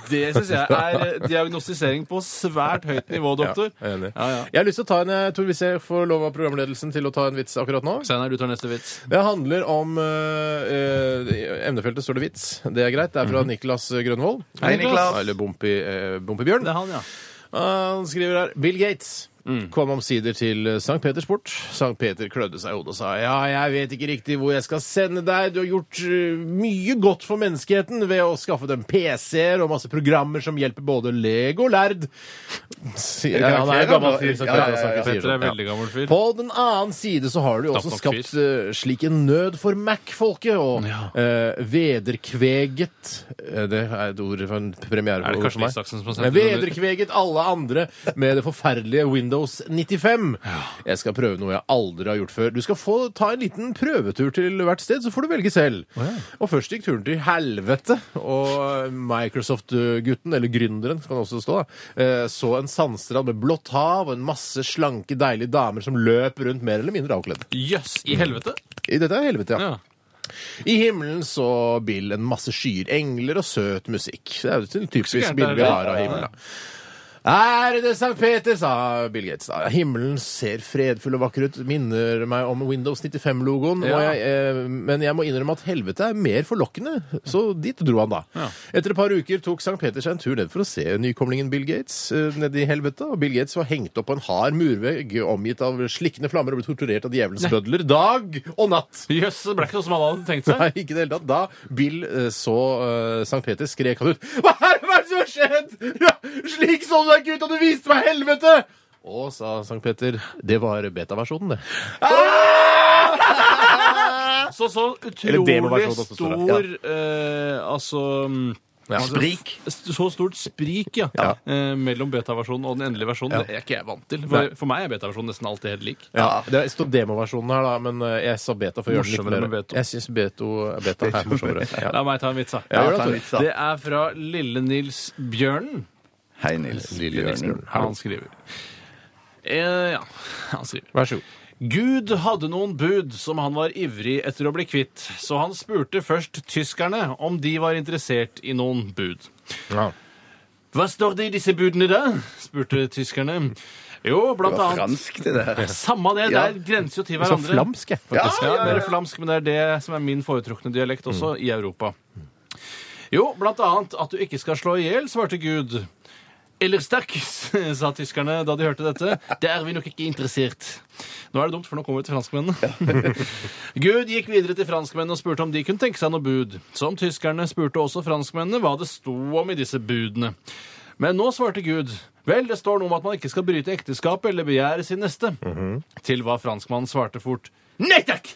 Det syns jeg er eh, diagnostisering på svært høyt nivå, doktor. Ja, jeg er enig. Ja, ja. Jeg har lyst til å ta en, eh, Tor, hvis jeg får lov av programledelsen til å ta en vits akkurat nå? Steinar, du tar neste vits. Det handler om eh, eh, Emnefeltet står det vits. Det er greit. Det er fra Mhm. Niklas Grønvold. Hei, Niklas. Eller Bompi, eh, Bompibjørn. Det er han, ja. Han skriver her Bill Gates. Kom omsider til St. Peters port. St. Peter klødde seg i hodet og sa ja, jeg vet ikke riktig hvor jeg skal sende deg. Du har gjort eh, mye godt for menneskeheten ved å skaffe dem PC-er og masse programmer som hjelper både lege og lærd. Sier- Ja, han er en gammel fyr. som Ja, ja, ja, ja. St. Peter sier Petter er sånn. Ja. veldig gammel fyr. På den annen side så har du jo også Knapt nok skapt eh, slik en nød for Mac-folket, og Ja. eh, vederkveget eh, Det er et ord for en premiere Er det for Karsten meg. Isaksen som har Men sendt den under? Vederkveget alle andre med det forferdelige Windows 95. Jeg skal prøve noe jeg aldri har gjort før. Du skal få ta en liten prøvetur til hvert sted, så får du velge selv. Og først gikk turen til helvete, og Microsoft-gutten, eller gründeren, kan det også stå, da, eh, så en sandstrand med blått hav og en masse slanke, deilige damer som løp rundt mer eller mindre avkledd. Jøss, i helvete! I dette er helvete, ja. Ja. I himmelen så Bill en masse skyer, engler og søt musikk. Det er jo et typisk gærent, bilde vi det er har av himmelen. da. Ærede Sankt Peter, sa Bill Gates. da. Himmelen ser fredfull og vakker ut. Minner meg om Windows 95-logoen. og Ja. jeg, eh, Men jeg må innrømme at helvete er mer forlokkende. Så dit dro han, da. Ja. Etter et par uker tok Sankt Peter seg en tur ned for å se nykomlingen Bill Gates eh, nede i helvete. Og Bill Gates var hengt opp på en hard murvegg, omgitt av slikkende flammer og ble torturert av djevelens bødler dag og natt. Jøss, det ble ikke noe som alle hadde tenkt seg. Nei, ikke i det hele tatt. Da Bill eh, så eh, Sankt Peter, skrek han ut Hva er det hva er det som har skjedd?! Ja, slik så du deg ikke ut, og du viste meg helvete! Å, sa Sankt Peter, det var beta-versjonen, det. Ah! Så så utrolig demoversjon også, står det. sånn stor eh, Altså mm, Sprik. st- Så stort sprik, ja, Ja. Eh, mellom beta-versjonen og den endelige versjonen. Ja. Det er ikke jeg vant til. Nei. For, for meg er beta-versjonen nesten alltid helt lik. Ja, Det står demo-versjonen her, da, men eh, jeg sa beta for å gjøre den litt Morsommere mer med beto. Jeg syns beto, beta er morsommere. Ja. La meg ta en vits, da. Ja, gjør Ta en det, vits, da. Det er fra Lille Nils Bjørnen. Hei, Nils. Lille Nils Bjørnen. Bjørnen. Han skriver. Eh, ja, han skriver. Vær så god. Gud hadde noen bud som han var ivrig etter å bli kvitt, så han spurte først tyskerne om de var interessert i noen bud. Ja. Hva står det i disse budene da? spurte tyskerne. Jo, Det blant var annet fransk, det der. Samme det, det Ja. er grenser jo til Så hverandre. flamsk, jeg. Ja, faktisk. ja, Mer flamsk, men det er det som er min foretrukne dialekt også i Europa. Jo, blant annet at du ikke skal slå i hjel, svarte Gud. Eller sterk, sa tyskerne da de hørte dette. Det er vi nok ikke interessert. Nå er det dumt, for nå kommer vi til franskmennene. Gud gikk videre til franskmennene og spurte om de kunne tenke seg noe bud. Som tyskerne spurte også franskmennene hva det sto om i disse budene. Men nå svarte Gud. Vel, det står noe om at man ikke skal bryte ekteskapet eller begjære sin neste. Til hva franskmannen svarte fort. Nei takk!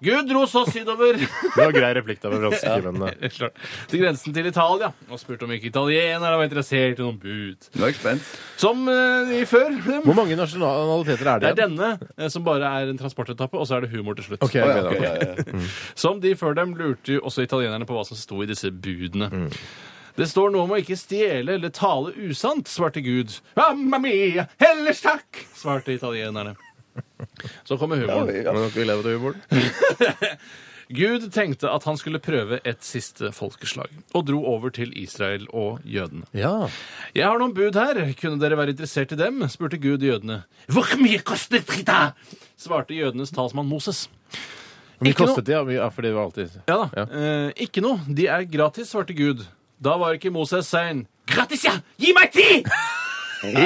Gud dro så sydover Det var grei replikk der med franskemennene. Helt klart. til grensen til Italia og spurte om ikke italienere var interessert i noen bud. Nå er jeg spent. Som eh, i før. Hvor mange nasjonaliteter er det Det er denne eh, som bare er en transportetappe, og så er det humor til slutt. Ok, jeg gleder meg. Ok, ja, ja, ja. Som de før dem lurte jo også italienerne på hva som sto i disse budene. Mm. Det står noe om å ikke stjele eller tale usant, svarte Gud. Mamma mia, ellers takk, svarte italienerne. Så kommer humoren. Ja, Men dere lever til humoren. Gud tenkte at han skulle prøve et siste folkeslag, og dro over til Israel og jødene. Ja. Jeg har noen bud her. Kunne dere være interessert i dem? spurte Gud jødene. Hvor mye kostet Rita? svarte jødenes talsmann Moses. Hvor mye Ikke noe- kostet det? Ja, mye- Ja, fordi det var alltid Ja da. Eh, ikke noe. De er gratis, svarte Gud. Da var ikke Moses sein. Gratis, ja! Gi meg ti! Eh, Ja, Nei,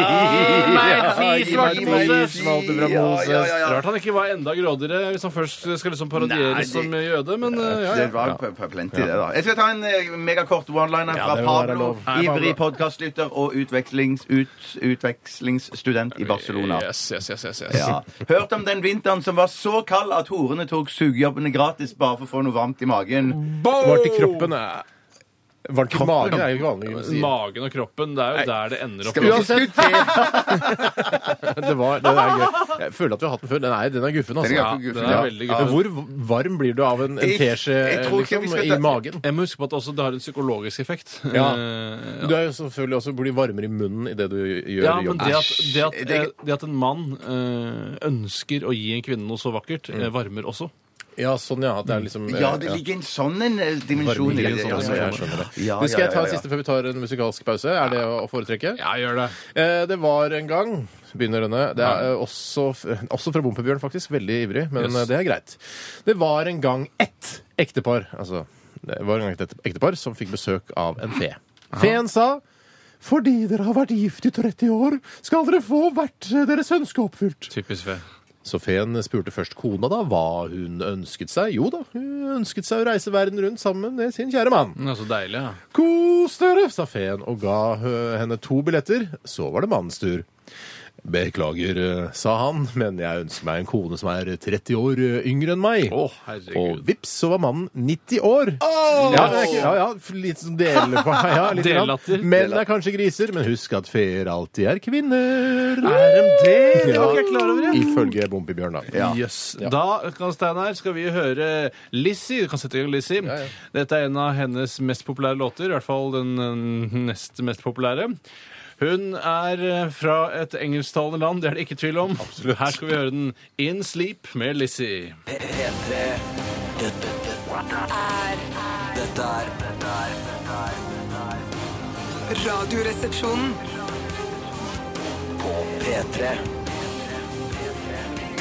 ti, gi meg- svarte gi meg Moses. ti. Smalte fra Ja, Moses. ja, ja, ja. Rart han ikke var enda grådigere hvis han først skal liksom Nei, det- parodieres som jøde, men eh, ja, ja. Det var p- p- plenty, det, da. Jeg skal ta en eh, megakort one-liner fra det må være Pablo. lov. Ivrig podkastlytter og utvekslings, ut, utvekslingsstudent i Barcelona. Yes, yes, yes, yes, yes. Ja. Hørt om den vinteren som var så kald at horene tok sugejobbene gratis bare for å få noe varmt i magen. Varmt i kroppen er Varmt i Kroppen, magen ja. er jo ikke vanlig å si. Magen og kroppen, det er jo der det ender opp. Skal vi ikke Uansett. diskutere? Det var, den er gøy. Jeg føler at vi har hatt den før. Den er, den er guffen, altså. Den er Ja, guffen, det ja. er veldig Men guffen. Hvor varm blir du av en, en Jeg- teskje jeg tror ikke vi liksom, skal i ta- magen? Jeg må huske på at også det har en psykologisk effekt. Ja. Eh, Du er jo selvfølgelig også blir varmere i munnen idet du gjør Ja, men jobben. det at, det at, Æsj, eh, det at en mann eh, ønsker å gi en kvinne noe så vakkert, eh, varmer også. Ja, sånn, ja. at Det er liksom eh, Ja, det ligger en sånn en eh, dimensjon varmere i i det. munnen, Ja, sånn, ja, ja. jeg skjønner det. Ja, Men skal ja, jeg ta ja, en ja. siste før vi tar en musikalsk pause? Er det å foretrekke? Ja, gjør det. Eh, Det var en gang Begynner denne. Det er eh, også, f- også fra Bompebjørn, faktisk. Veldig ivrig, men Yes. eh, det er greit. Det var en gang ett ektepar Altså, det var en gang et ektepar som fikk besøk av en fe. Feen sa fordi dere har vært gift i 30 år, skal dere få hvert eh, deres ønske oppfylt. Typisk fe. Så feen spurte først kona da hva hun ønsket seg. Jo da, hun ønsket seg å reise verden rundt sammen med sin kjære mann. Ja, så altså, deilig, ja. Kos dere, sa feen og ga øh, henne to billetter. Så var det mannens tur. Beklager, øh, sa han, men jeg ønsker meg en kone som er 30 år øh, yngre enn meg. Å, og herregud. vips, så var mannen 90 år. Ja, det er ikke- ja, ja, litt sånn del på ja, litt grann. Dellatter. Menn er kanskje griser, men husk at feer alltid er kvinner. Er de det? Det Ja, var ikke jeg klar over, jeg. Ifølge Bompibjørn, da. Ja. Yes. Da kan Steinar, skal vi høre Lizzie. Du kan sette i gang Lizzie. ja. Dette er en av hennes mest populære låter, i hvert fall den eh, nest mest populære. Hun er eh, fra et engelsktalende land, det er det ikke tvil om. Her skal vi høre den In Sleep med Lizzie. P- P3 Dette, dette, er dette er dette er- dette er Radioresepsjonen. På P3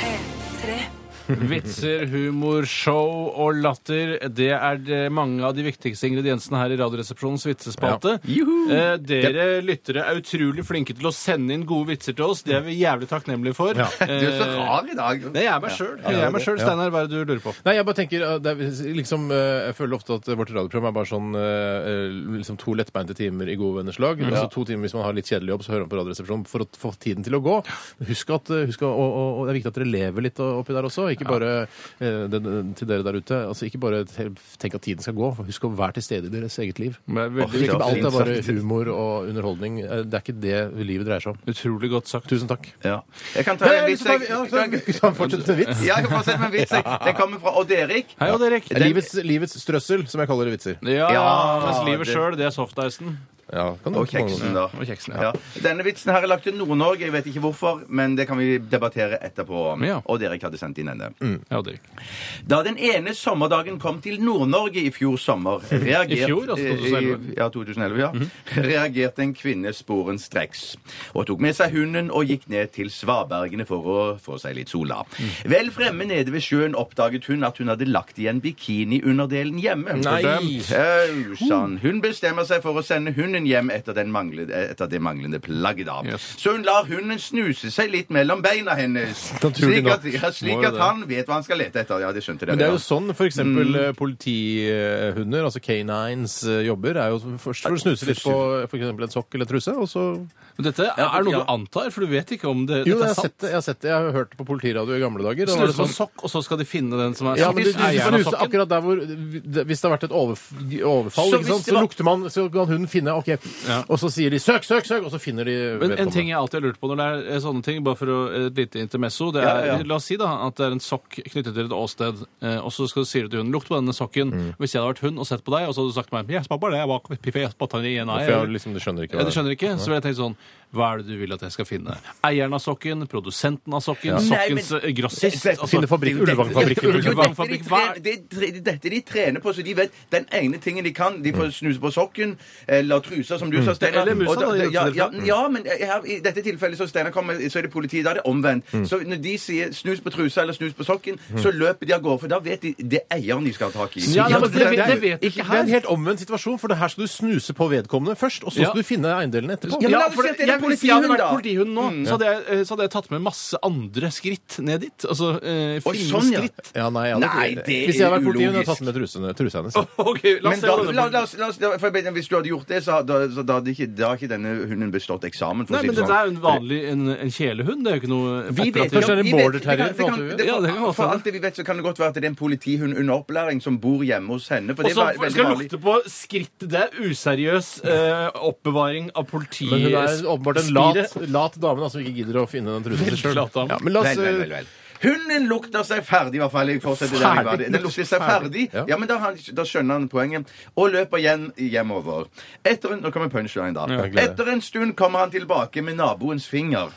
P3. Vitser, humor, show og latter. Det er det mange av de viktigste ingrediensene her i Radioresepsjonens vitsespalte. Eh, dere lyttere er utrolig flinke til å sende inn gode vitser til oss. Det er vi jævlig takknemlige for. Ja. Eh, Du er så rar i dag. Nei, jeg er meg sjøl. ja, Jeg er meg det- selv, ja. Steinar. Hva er det du lurer på? Nei, jeg bare tenker eh, det er, liksom, eh, Jeg føler ofte at vårt radioprogram er bare sånn eh, eh, liksom to lettbeinte timer i gode venners lag. Altså to timer Hvis man har litt kjedelig jobb, så hører man på Radioresepsjonen for å få tiden til å gå. Men Husk at eh, husk, å- og, og, og det er viktig at dere lever litt oppi der også. Ikke bare eh, den, den- til dere der ute. Altså Ikke bare te- tenk at tiden skal gå. for Husk å være til stede i deres eget liv. Det er veldig Ikke ja, alt fint er bare sagt. humor og underholdning. Eh, Det er ikke det livet dreier seg om. Utrolig godt sagt. Tusen takk. Ja. Jeg kan ta en vits. jeg. Fortsett med vits. Ja, jeg kan fortsette med en vits. jeg. Den kommer fra Odd-Erik. Hei, Odd Erik. Livets, livets strøssel, som jeg kaller det vitser. Ja, Ja, mens livet det- sjøl, det er softicen. Ja, kan du- Og kjeksen, da. Og kjeksen, ja. Ja. Denne vitsen her er lagt til Nord-Norge. Jeg vet ikke hvorfor, men det kan vi debattere etterpå. Ja. Mm. Odd-Erik hadde sendt inn denne. Ja, Odd Erik. Da den ene sommerdagen kom til Nord-Norge i fjor sommer reagerte, I fjor, altså 2011? i- Ja, 2011, ja. Mhm. Reagerte en kvinne sporenstreks. Og tok med seg hunden og gikk ned til svabergene for å få seg litt sola. Mhm. Vel fremme nede ved sjøen oppdaget hun at hun hadde lagt igjen bikiniunderdelen hjemme. Nei. Fordømt. Au sann. Hun bestemmer seg for å sende hunden hunden hjem etter, den mangle- etter det manglende plagget. da. Yes. Så hun lar hunden snuse seg litt mellom beina hennes, Naturlig slik at, nok. ja, slik jo at det. han vet hva han skal lete etter. Ja, de skjønte det. Men det er ja. jo sånn f.eks. Mm. politihunder, altså canines, eh, jobber. er jo Først får du snuse litt på for eksempel en sokk eller truse, og så Men dette er, er noe du antar, for du vet ikke om det, Jo, jeg dette har er sant. sett det. Jeg har sett det, jeg har hørt det på politiradio i gamle dager. da var det Snuse på sånn- sokk, og så skal de finne den som er Ja, men du, du, sokkis. Eieren av snuser sokken. akkurat der hvor det- Hvis det har vært et overf overfall, Så ikke hvis sant? det så var- lukter man Så kan hunden finne OK. Og så sier de 'søk, søk, søk', og så finner de Men en vedkommende. ting jeg alltid har lurt på når det er eh, sånne ting, bare for å, et lite intermesso det er, Ja, ja. La oss si da at det er en sokk knyttet til et åsted, eh, og så skal du si det til hunden 'lukt på denne sokken'. Mm. Hvis jeg hadde vært hund og sett på deg, og så hadde du sagt til meg 'jeg smapper det, jeg bak pipa, jeg spotter den i en For ei', jeg har eller- liksom, du skjønner ikke ja, du skjønner ikke? Så ville jeg tenkt sånn Hva er det du vil at jeg skal finne? Eieren av sokken? Produsenten av sokken? Sokkens eh, grossist? Dette- Finne fabrikk, altså, det er jo Ulvangfabrikk. dette- det er jo dette de Ulvangfabrikk, hva er- tre- det er tre- det er Dette de trener på, så de vet den ene tingen de kan. De får snuse på sokken eller trusa, som du sa, Steinar. Mm. Eller musa, Og da, i dette ja, ja, tilfellet. ja, men eh, her, i dette tilfellet så Steinar kommer, så er det politiet. Da er det omvendt. Mm. Så når de sier 'snus på trusa' eller 'snus på sokken', så løper de av gårde, for da vet de det er eieren de skal ha tak i. Ja, nei, men det- det, det vet er, du ikke, ikke det er en her. helt omvendt situasjon, for det her skal du snuse på vedkommende først, og så Ja. skal du finne eiendelene etterpå. Ja, men la oss for si at det er jeg- en hvis jeg hadde vært politihund, da. politihund nå, Mm. så, hadde jeg, eh, så hadde jeg tatt med masse andre skritt ned dit. Altså eh, Oi, finne sånn, ja. skritt. Ja, nei, jeg hadde, Nei, ikke- det Hvis jeg hadde er vært politi, hadde jeg ulogisk. tatt med trusene, trusa hennes. OK, la oss Men se da, på la, denne la, oss- la, oss- da- for jeg- hvis du hadde gjort det, så, da, så da, hadde ikke, da har ikke denne hunden bestått eksamen. For å Nei, si men det dette sånn. er jo en vanlig en, en kjælehund. Det er jo ikke noe Vi vet operativt. Kanskje det er en vi vet- border det kan- terrier, det kan- for alt vi vet. Ja, det kan godt For være. alt det vi vet, så kan det godt være at det er en politihund under opplæring som bor hjemme hos henne. For Og det så er veldig skal du vanlig. lukte på skrittet. Det er useriøs eh, oppbevaring av politi... Men hun er åpenbart en lat, spiret. lat dame da, som ikke gidder å finne den trusen Veldig selv. lat dame. Ja, men la oss, eh, Vel, vel, vel, vel. Hunden lukter seg ferdig, i hvert fall. Jeg fortsetter der jeg var. Den lukter seg ferdig. Ja. Ja, men da, har han, da skjønner han poenget. Og løper igjen hjemover. Etter en, nå kommer punchline, da. jeg gleder. Etter en stund kommer han tilbake med naboens finger.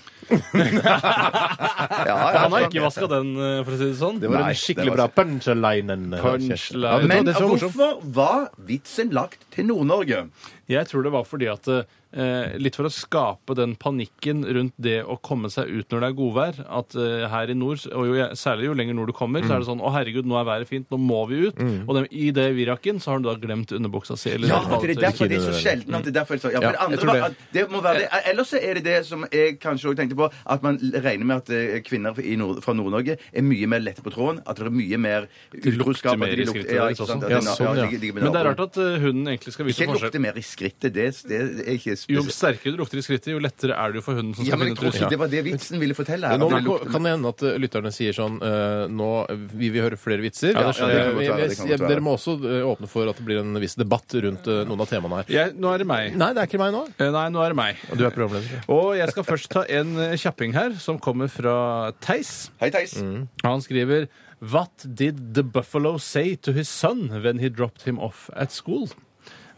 ja, ja, Han har sånn. ikke vaska den, eh, for å si det sånn. Det var Nei, en skikkelig det bra var- punchline. Punchline. Ja, vet du hva, Men det som var morsomt. hvorfor var vitsen lagt til Nord-Norge? Jeg tror det var fordi at eh, Litt for å skape den panikken rundt det å komme seg ut når det er godvær. At eh, her i nord, og jo, særlig jo lenger nord du kommer, så er Mm. det sånn Å, herregud, nå er været fint, nå må vi ut. Og den, i det virakken så har du da glemt underbuksa si. Eller Ja, den at det er badetøyet. derfor det er så sjelden at det er derfor jeg sa- ja, for Ja, det jeg andre tror var det. at det må være det. Ellers så er det det som jeg kanskje også tenkte på, at man regner med at eh, kvinner i Nord fra Nord-Norge er mye mer lette på tråden, at det er mye mer utroskap. mer at i de lukter- skrittet Ja, deres ikke sant, også. at Ja, de- sånn, ja. ligger- ligger med Men det er naboen. rart at eh, hunden egentlig skal vise Ikke forskjell. lukte mer i skrittet, det, det er ikke Jo spesielt. sterkere du lukter i skrittet, jo lettere er det jo for hunden som skal Ja, men jeg finne tror trusa. ikke det var det vitsen ville fortelle Men her. nå at det lukter- kan det hende at eh, lytterne sier sånn eh, Nå vil vi høre flere vitser. Ja, det skjønner jeg. Eh, Det kan godt være, det kan vi- godt være. Dere må også eh, åpne for at det blir en viss debatt rundt eh, noen av temaene her. Jeg, nå er det meg. Nei, det er ikke meg nå. Eh, Nei, nå er det meg. Du er programleder. Og jeg skal først ta en eh, kjapping her, som kommer fra Theis. Hei, Theis. Han skriver What did the buffalo say to his son when he dropped him off at school?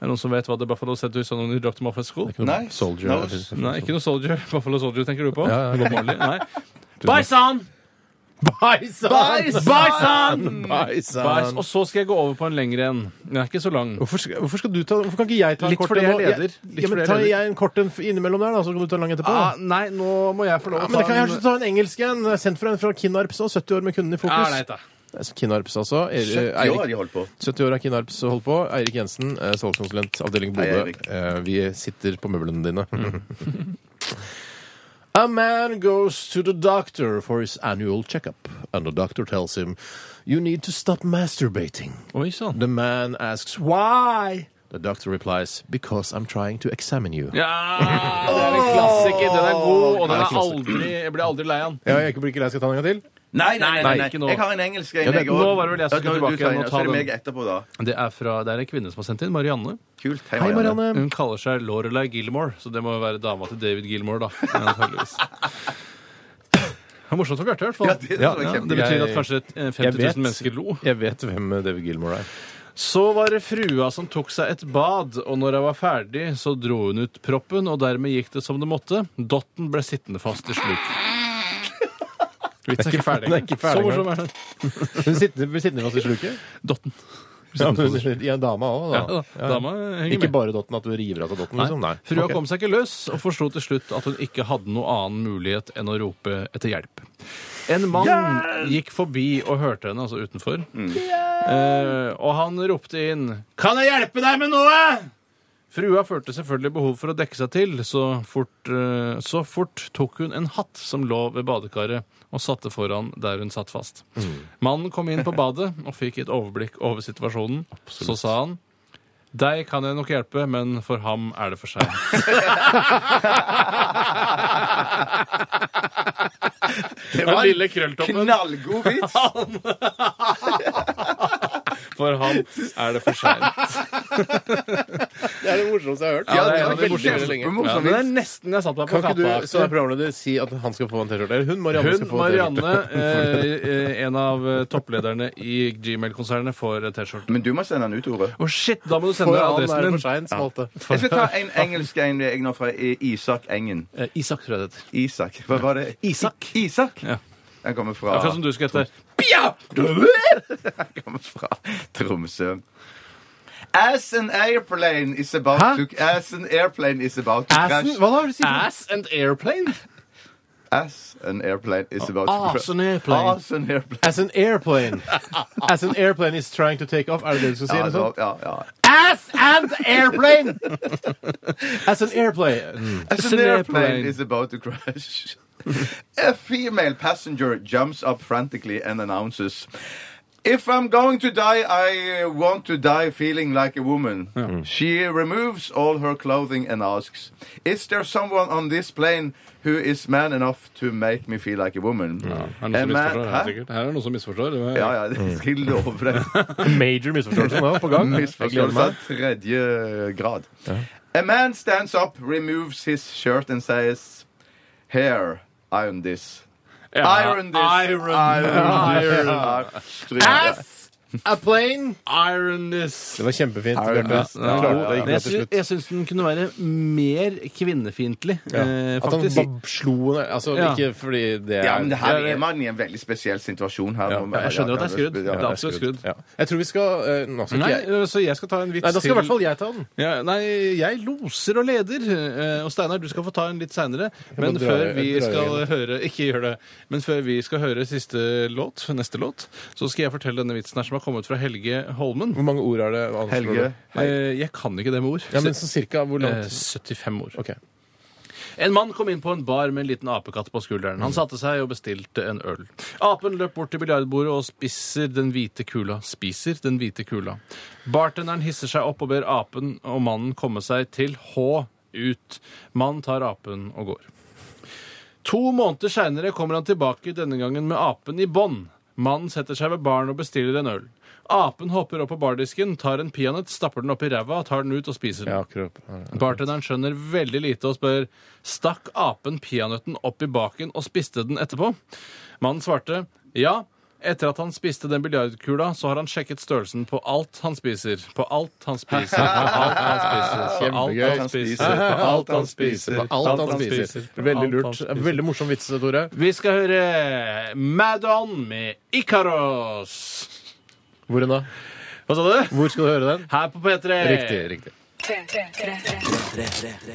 Er det noen som vet hva the buffalo said to his son when he dropped him off at school? Nei. Soldier. No. Nei, ikke noe soldier. Buffalo soldier tenker du på? Ja, ja. Det går på ordentlig. Nei. Bye, son! Bison! Bison! Bison! Bison! Bye. Og så skal jeg gå over på en lengre en. Den er ikke så lang. Hvorfor, skal, hvorfor skal du ta Hvorfor kan ikke jeg ta en Litt kort fordi en jeg nå? er Ja, leder. Litt ja, fordi men jeg tar er leder. jeg en kort en f- innimellom der, da, så kan du ta en lang etterpå? Ah, da? nei, nå må jeg få lov Ja, å men det kan jeg en- kanskje ta en engelsk en. Det er Sendt fra en fra Kinnarps, og 70 år med kunden i Ja, fokus. Ah, nei, da. Det er Kinnarps, altså. Er- 70 år har de holdt på. 70 år har Kinnarps holdt på. Eirik Jensen, eh, salgskonsulent, avdeling Hei, Bodø. Eirik. Mm. Eh, Vi sitter på møblene dine. A man goes to the doctor for his annual checkup, and the doctor tells him, You need to stop masturbating. Oi sånn. sann. The man asks, Why? The doctor replies, Because I'm trying to examine you. Ja, det er en klassiker. Den er god, og den er aldri, jeg blir aldri lei av den. Ja, jeg blir ikke lei, skal jeg ta en gang til? Nei, nei, nei, Nei, nei, ikke nå. Jeg har en engelsk en, Ja, det- jeg også. nå var det vel jeg som Ja, nå skulle er det du, tilbake igjen og Steinar, ta Så er den. det meg etterpå, da. Det er, fra, det er en kvinne som har sendt inn. Marianne. Kult. Hei, Marianne. Hun kaller seg Lorelei Gilmore, så det må jo være dama til David Gilmore, da. Antageligvis. Det var morsomt for Bjarte, i hvert Ja, fall. det, Ja, var Ja, kjempegøy. det betyr at kanskje et- eh, 50 Jeg vet. 000 mennesker lo. Jeg vet hvem eh, David Gilmore er. Så var det frua som tok seg et bad, og når jeg var ferdig, så dro hun ut proppen, og dermed gikk det som det måtte. Dotten ble sittende fast til slutt. Vitsen er ikke ferdig. Den er ikke ferdig Så morsom er den. Hun sitter, blir sittende fast i sluket. Dotten. Ja, men hun sitter- ja, dama òg, da. Ja, da. Dama henger Ikke med. bare dotten, at du river av seg dotten, liksom. Nei. Frua Ok. kom seg ikke løs, og forsto til slutt at hun ikke hadde noe annen mulighet enn å rope etter hjelp. En mann gikk forbi og hørte henne, altså utenfor, Eh, og han ropte inn 'Kan jeg hjelpe deg med noe?' Frua følte selvfølgelig behov for å dekke seg til, så fort, eh, så fort tok hun en hatt som lå ved badekaret, og satte foran der hun satt fast. Mannen kom inn på badet og fikk et overblikk over situasjonen. Så sa han deg kan jeg nok hjelpe, men for ham er det for seint. Det Den lille krølltoppen. knallgod vits! For ham er det for seint. Det er det morsomste jeg har hørt. Ja, det Ja, er det er veldig kjempemorsomt. morsom det er vits. nesten jeg satte meg på Kan ikke du katta. som er programleder si at han skal få en T-skjorte? Eller hun, Marianne, Hun, skal få en Marianne, T-skjorte. eh, eh, en av eh, topplederne i Gmail-konsernet, får eh, T-skjorte. Men du må sende den ut, Ove. Å, shit! Da må du For sende han er adressen det din. for seint, smalte. Jeg skal ta en engelsk en jeg nå fra I- Isak Engen. Eh, Isak, tror jeg det heter. Isak. Hva var det? Isak. I- Isak? Ja. Den kommer fra Akkurat som du skal hete. Den kommer fra Tromsø. As an airplane is about Hæ? to As an airplane is about to Assen? crash. Hva da? Har du sagt? Ass and airplane. As an airplane is about to crash. As an airplane. As an airplane. As an airplane. As an airplane is trying to take off. Er det det du skal si? Ja, eller sånn? da- ja, ja. Ass and airplane! As an Mm. airplane. As an airplane is about to crash. A female passenger jumps up frantically and announces, If I'm going to die, I uh, want to die feeling like a woman. She removes all her clothing and asks, Is there someone on this plane who is man enough to make me feel like a woman? Er det A noen som eh, man- misforstår? Hæ? Her, sikkert. her er det noen som misforstår. Det var- Ja, ja, det skal jeg love deg. Major misforståelse nå på gang. Misforståelse av tredje grad. A man stands up, removes his shirt and says, Here, iron this. Ja, Iron this. Iron, Iron. Stryk det. A plane. iron this. Det var kjempefint. Iron Bjarte. Ass. Du klarte det, det gikk bra Men jeg, til sy slutt. jeg syns den kunne være mer kvinnefiendtlig, Ja. eh, At han faktisk. bare slo henne Altså Ja. ikke fordi det er Ja, men det her er man i en veldig spesiell situasjon her. Ja, jeg skjønner at det er skrudd. Ja, Det er absolutt skrudd. ja. Jeg tror vi skal eh, Nå skal ikke Nei, jeg eh, så jeg skal ta en vits Nei, da skal i til. hvert fall jeg ta den. Ja, nei, jeg loser og leder. eh, Og Steinar, du skal få ta en litt seinere. Men må dra- før vi dra skal høre Ikke gjør det. Men før vi skal høre siste låt, neste låt, så skal jeg fortelle denne vitsen her som har kommet fra Helge Holmen. Hvor mange ord er det? anslår Helge. du? Eh, Jeg kan ikke det med ord. Ja, men så cirka hvor Eh, langt? 75 år. Ok. En mann kom inn på en bar med en liten apekatt på skulderen. Han satte seg og bestilte en øl. Apen løp bort til biljardbordet og spiser den hvite kula. Spiser den hvite kula. Bartenderen hisser seg opp og ber apen og mannen komme seg til H ut. Mannen tar apen og går. To måneder seinere kommer han tilbake, denne gangen med apen i bånd. Mannen setter seg ved baren og bestiller en øl. Apen hopper opp på bardisken, tar en peanøtt, stapper den opp i ræva, tar den ut og spiser den. Ja, akkurat. Ja, ja. Bartenderen skjønner veldig lite og spør Stakk apen peanøtten opp i baken og spiste den etterpå? Mannen svarte ja. Etter at han spiste den biljardkula, så har han sjekket størrelsen på alt han spiser. På alt han spiser. På alt han spiser. På alt han spiser. På alt På alt han han spiser. spiser. På Veldig alt han lurt. spiser. Veldig morsom vits, Tore. Vi skal høre Madon med Ikaros. Hvor hen da? Hva sa du? Hvor skal du høre den? Her på P3. Riktig. riktig.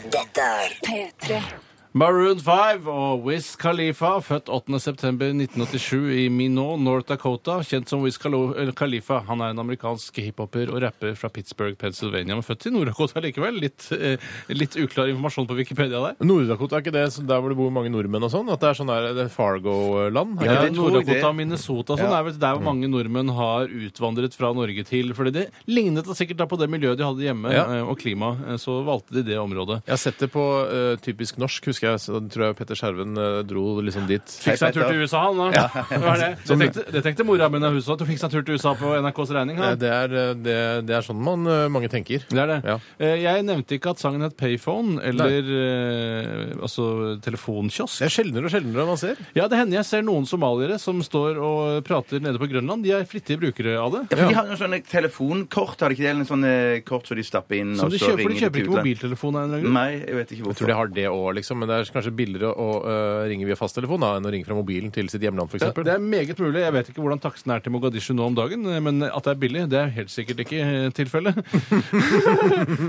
P3. Maroon 5 og Wiz Khalifa, født 8.9.1987 i Minot, North Dakota, kjent som Wiz Khalo- eller Khalifa. Han er en amerikansk hiphoper og rapper fra Pittsburgh, Pennsylvania, men født i Nord-Dakota likevel. Litt, eh, litt uklar informasjon på Wikipedia der. Nord-Dakota er ikke det så der hvor det bor mange nordmenn og sånn? At det er sånn der det er Fargo-land? er ikke Ja, det? tror jeg det. Nord-Dakota og Minnesota og sånn Ja. er vel der hvor mange nordmenn har utvandret fra Norge til. fordi det lignet da sikkert da på det miljøet de hadde hjemme, Ja. eh, og klimaet. eh, Så valgte de det området. Jeg har sett det på eh, typisk norsk, husker jeg. Så tror jeg Petter Skjerven eh, dro liksom dit. Fikk seg en tur Petter. til USA, han da. Det, var det. det, tenkte, det tenkte mora mi da hun så at hun fikk seg en tur til USA på NRKs regning. Eh, Han. Det er, eh, det, det er sånn man, eh, mange tenker. Det er det. Ja. Eh, Jeg nevnte ikke at sangen het Payphone, eller eh, altså telefonkiosk. Det er sjeldnere og sjeldnere man ser. Ja, det hender jeg ser noen somaliere som står og prater nede på Grønland. De er flittige brukere av det. Ja, for de har noen sånne telefonkort, har de ikke det? Eller sånne kort som de stapper inn, Som og de så kjøper, for de ringer de kjøper til ikke utlandet. mobiltelefon av en eller annen grunn. Nei, jeg vet ikke Jeg tror hvorfor. de har det òg, liksom, men det det er kanskje billigere å øh, ringe via fasttelefon da, enn å ringe fra mobilen til sitt hjemland, f.eks. Det, det er meget mulig. Jeg vet ikke hvordan taksten er til Mogadishu nå om dagen, eh, men at det er billig, det er helt sikkert ikke eh, tilfellet.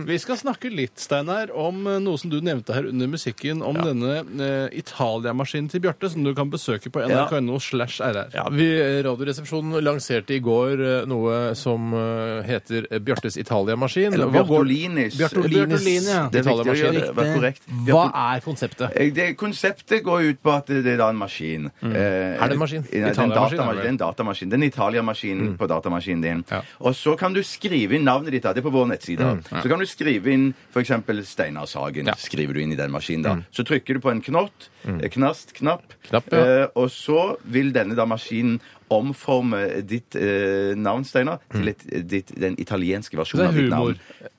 Vi skal snakke litt, Steinar, om eh, noe som du nevnte her under musikken, om denne eh, Italia-maskinen til Bjarte, som du kan besøke på nrk.no slash rr. Ja, vi, eh, Radioresepsjonen lanserte i går eh, noe som eh, heter Bjørtes Italia-maskin. Eller Hva går- Bjartolinis. Bjartolinis Bjartolini, ja. Det er viktig å gjøre Italia-maskin. det. Vær korrekt. Hva er konseptet? Eh, Det, konseptet går ut på at det er da en maskin. Mm. Er det en maskin? Nei, det er en Italia-maskin, er det datamaskin. Det er en datamaskin. Det er en Italia-maskin på datamaskinen din. Ja. Mm. Og så kan du skrive inn navnet ditt. da. Det er på vår nettside. Så kan du skrive inn f.eks. Steinar Sagen. Skriver du inn i den maskinen da. Så trykker du på en knott. eh, Knast, knapp. Mm. Knapp, ja. eh, og så vil denne da maskinen omforme ditt eh, navn, Steinar, Mm. til et, ditt, den italienske versjonen Det er av ditt humor. navn.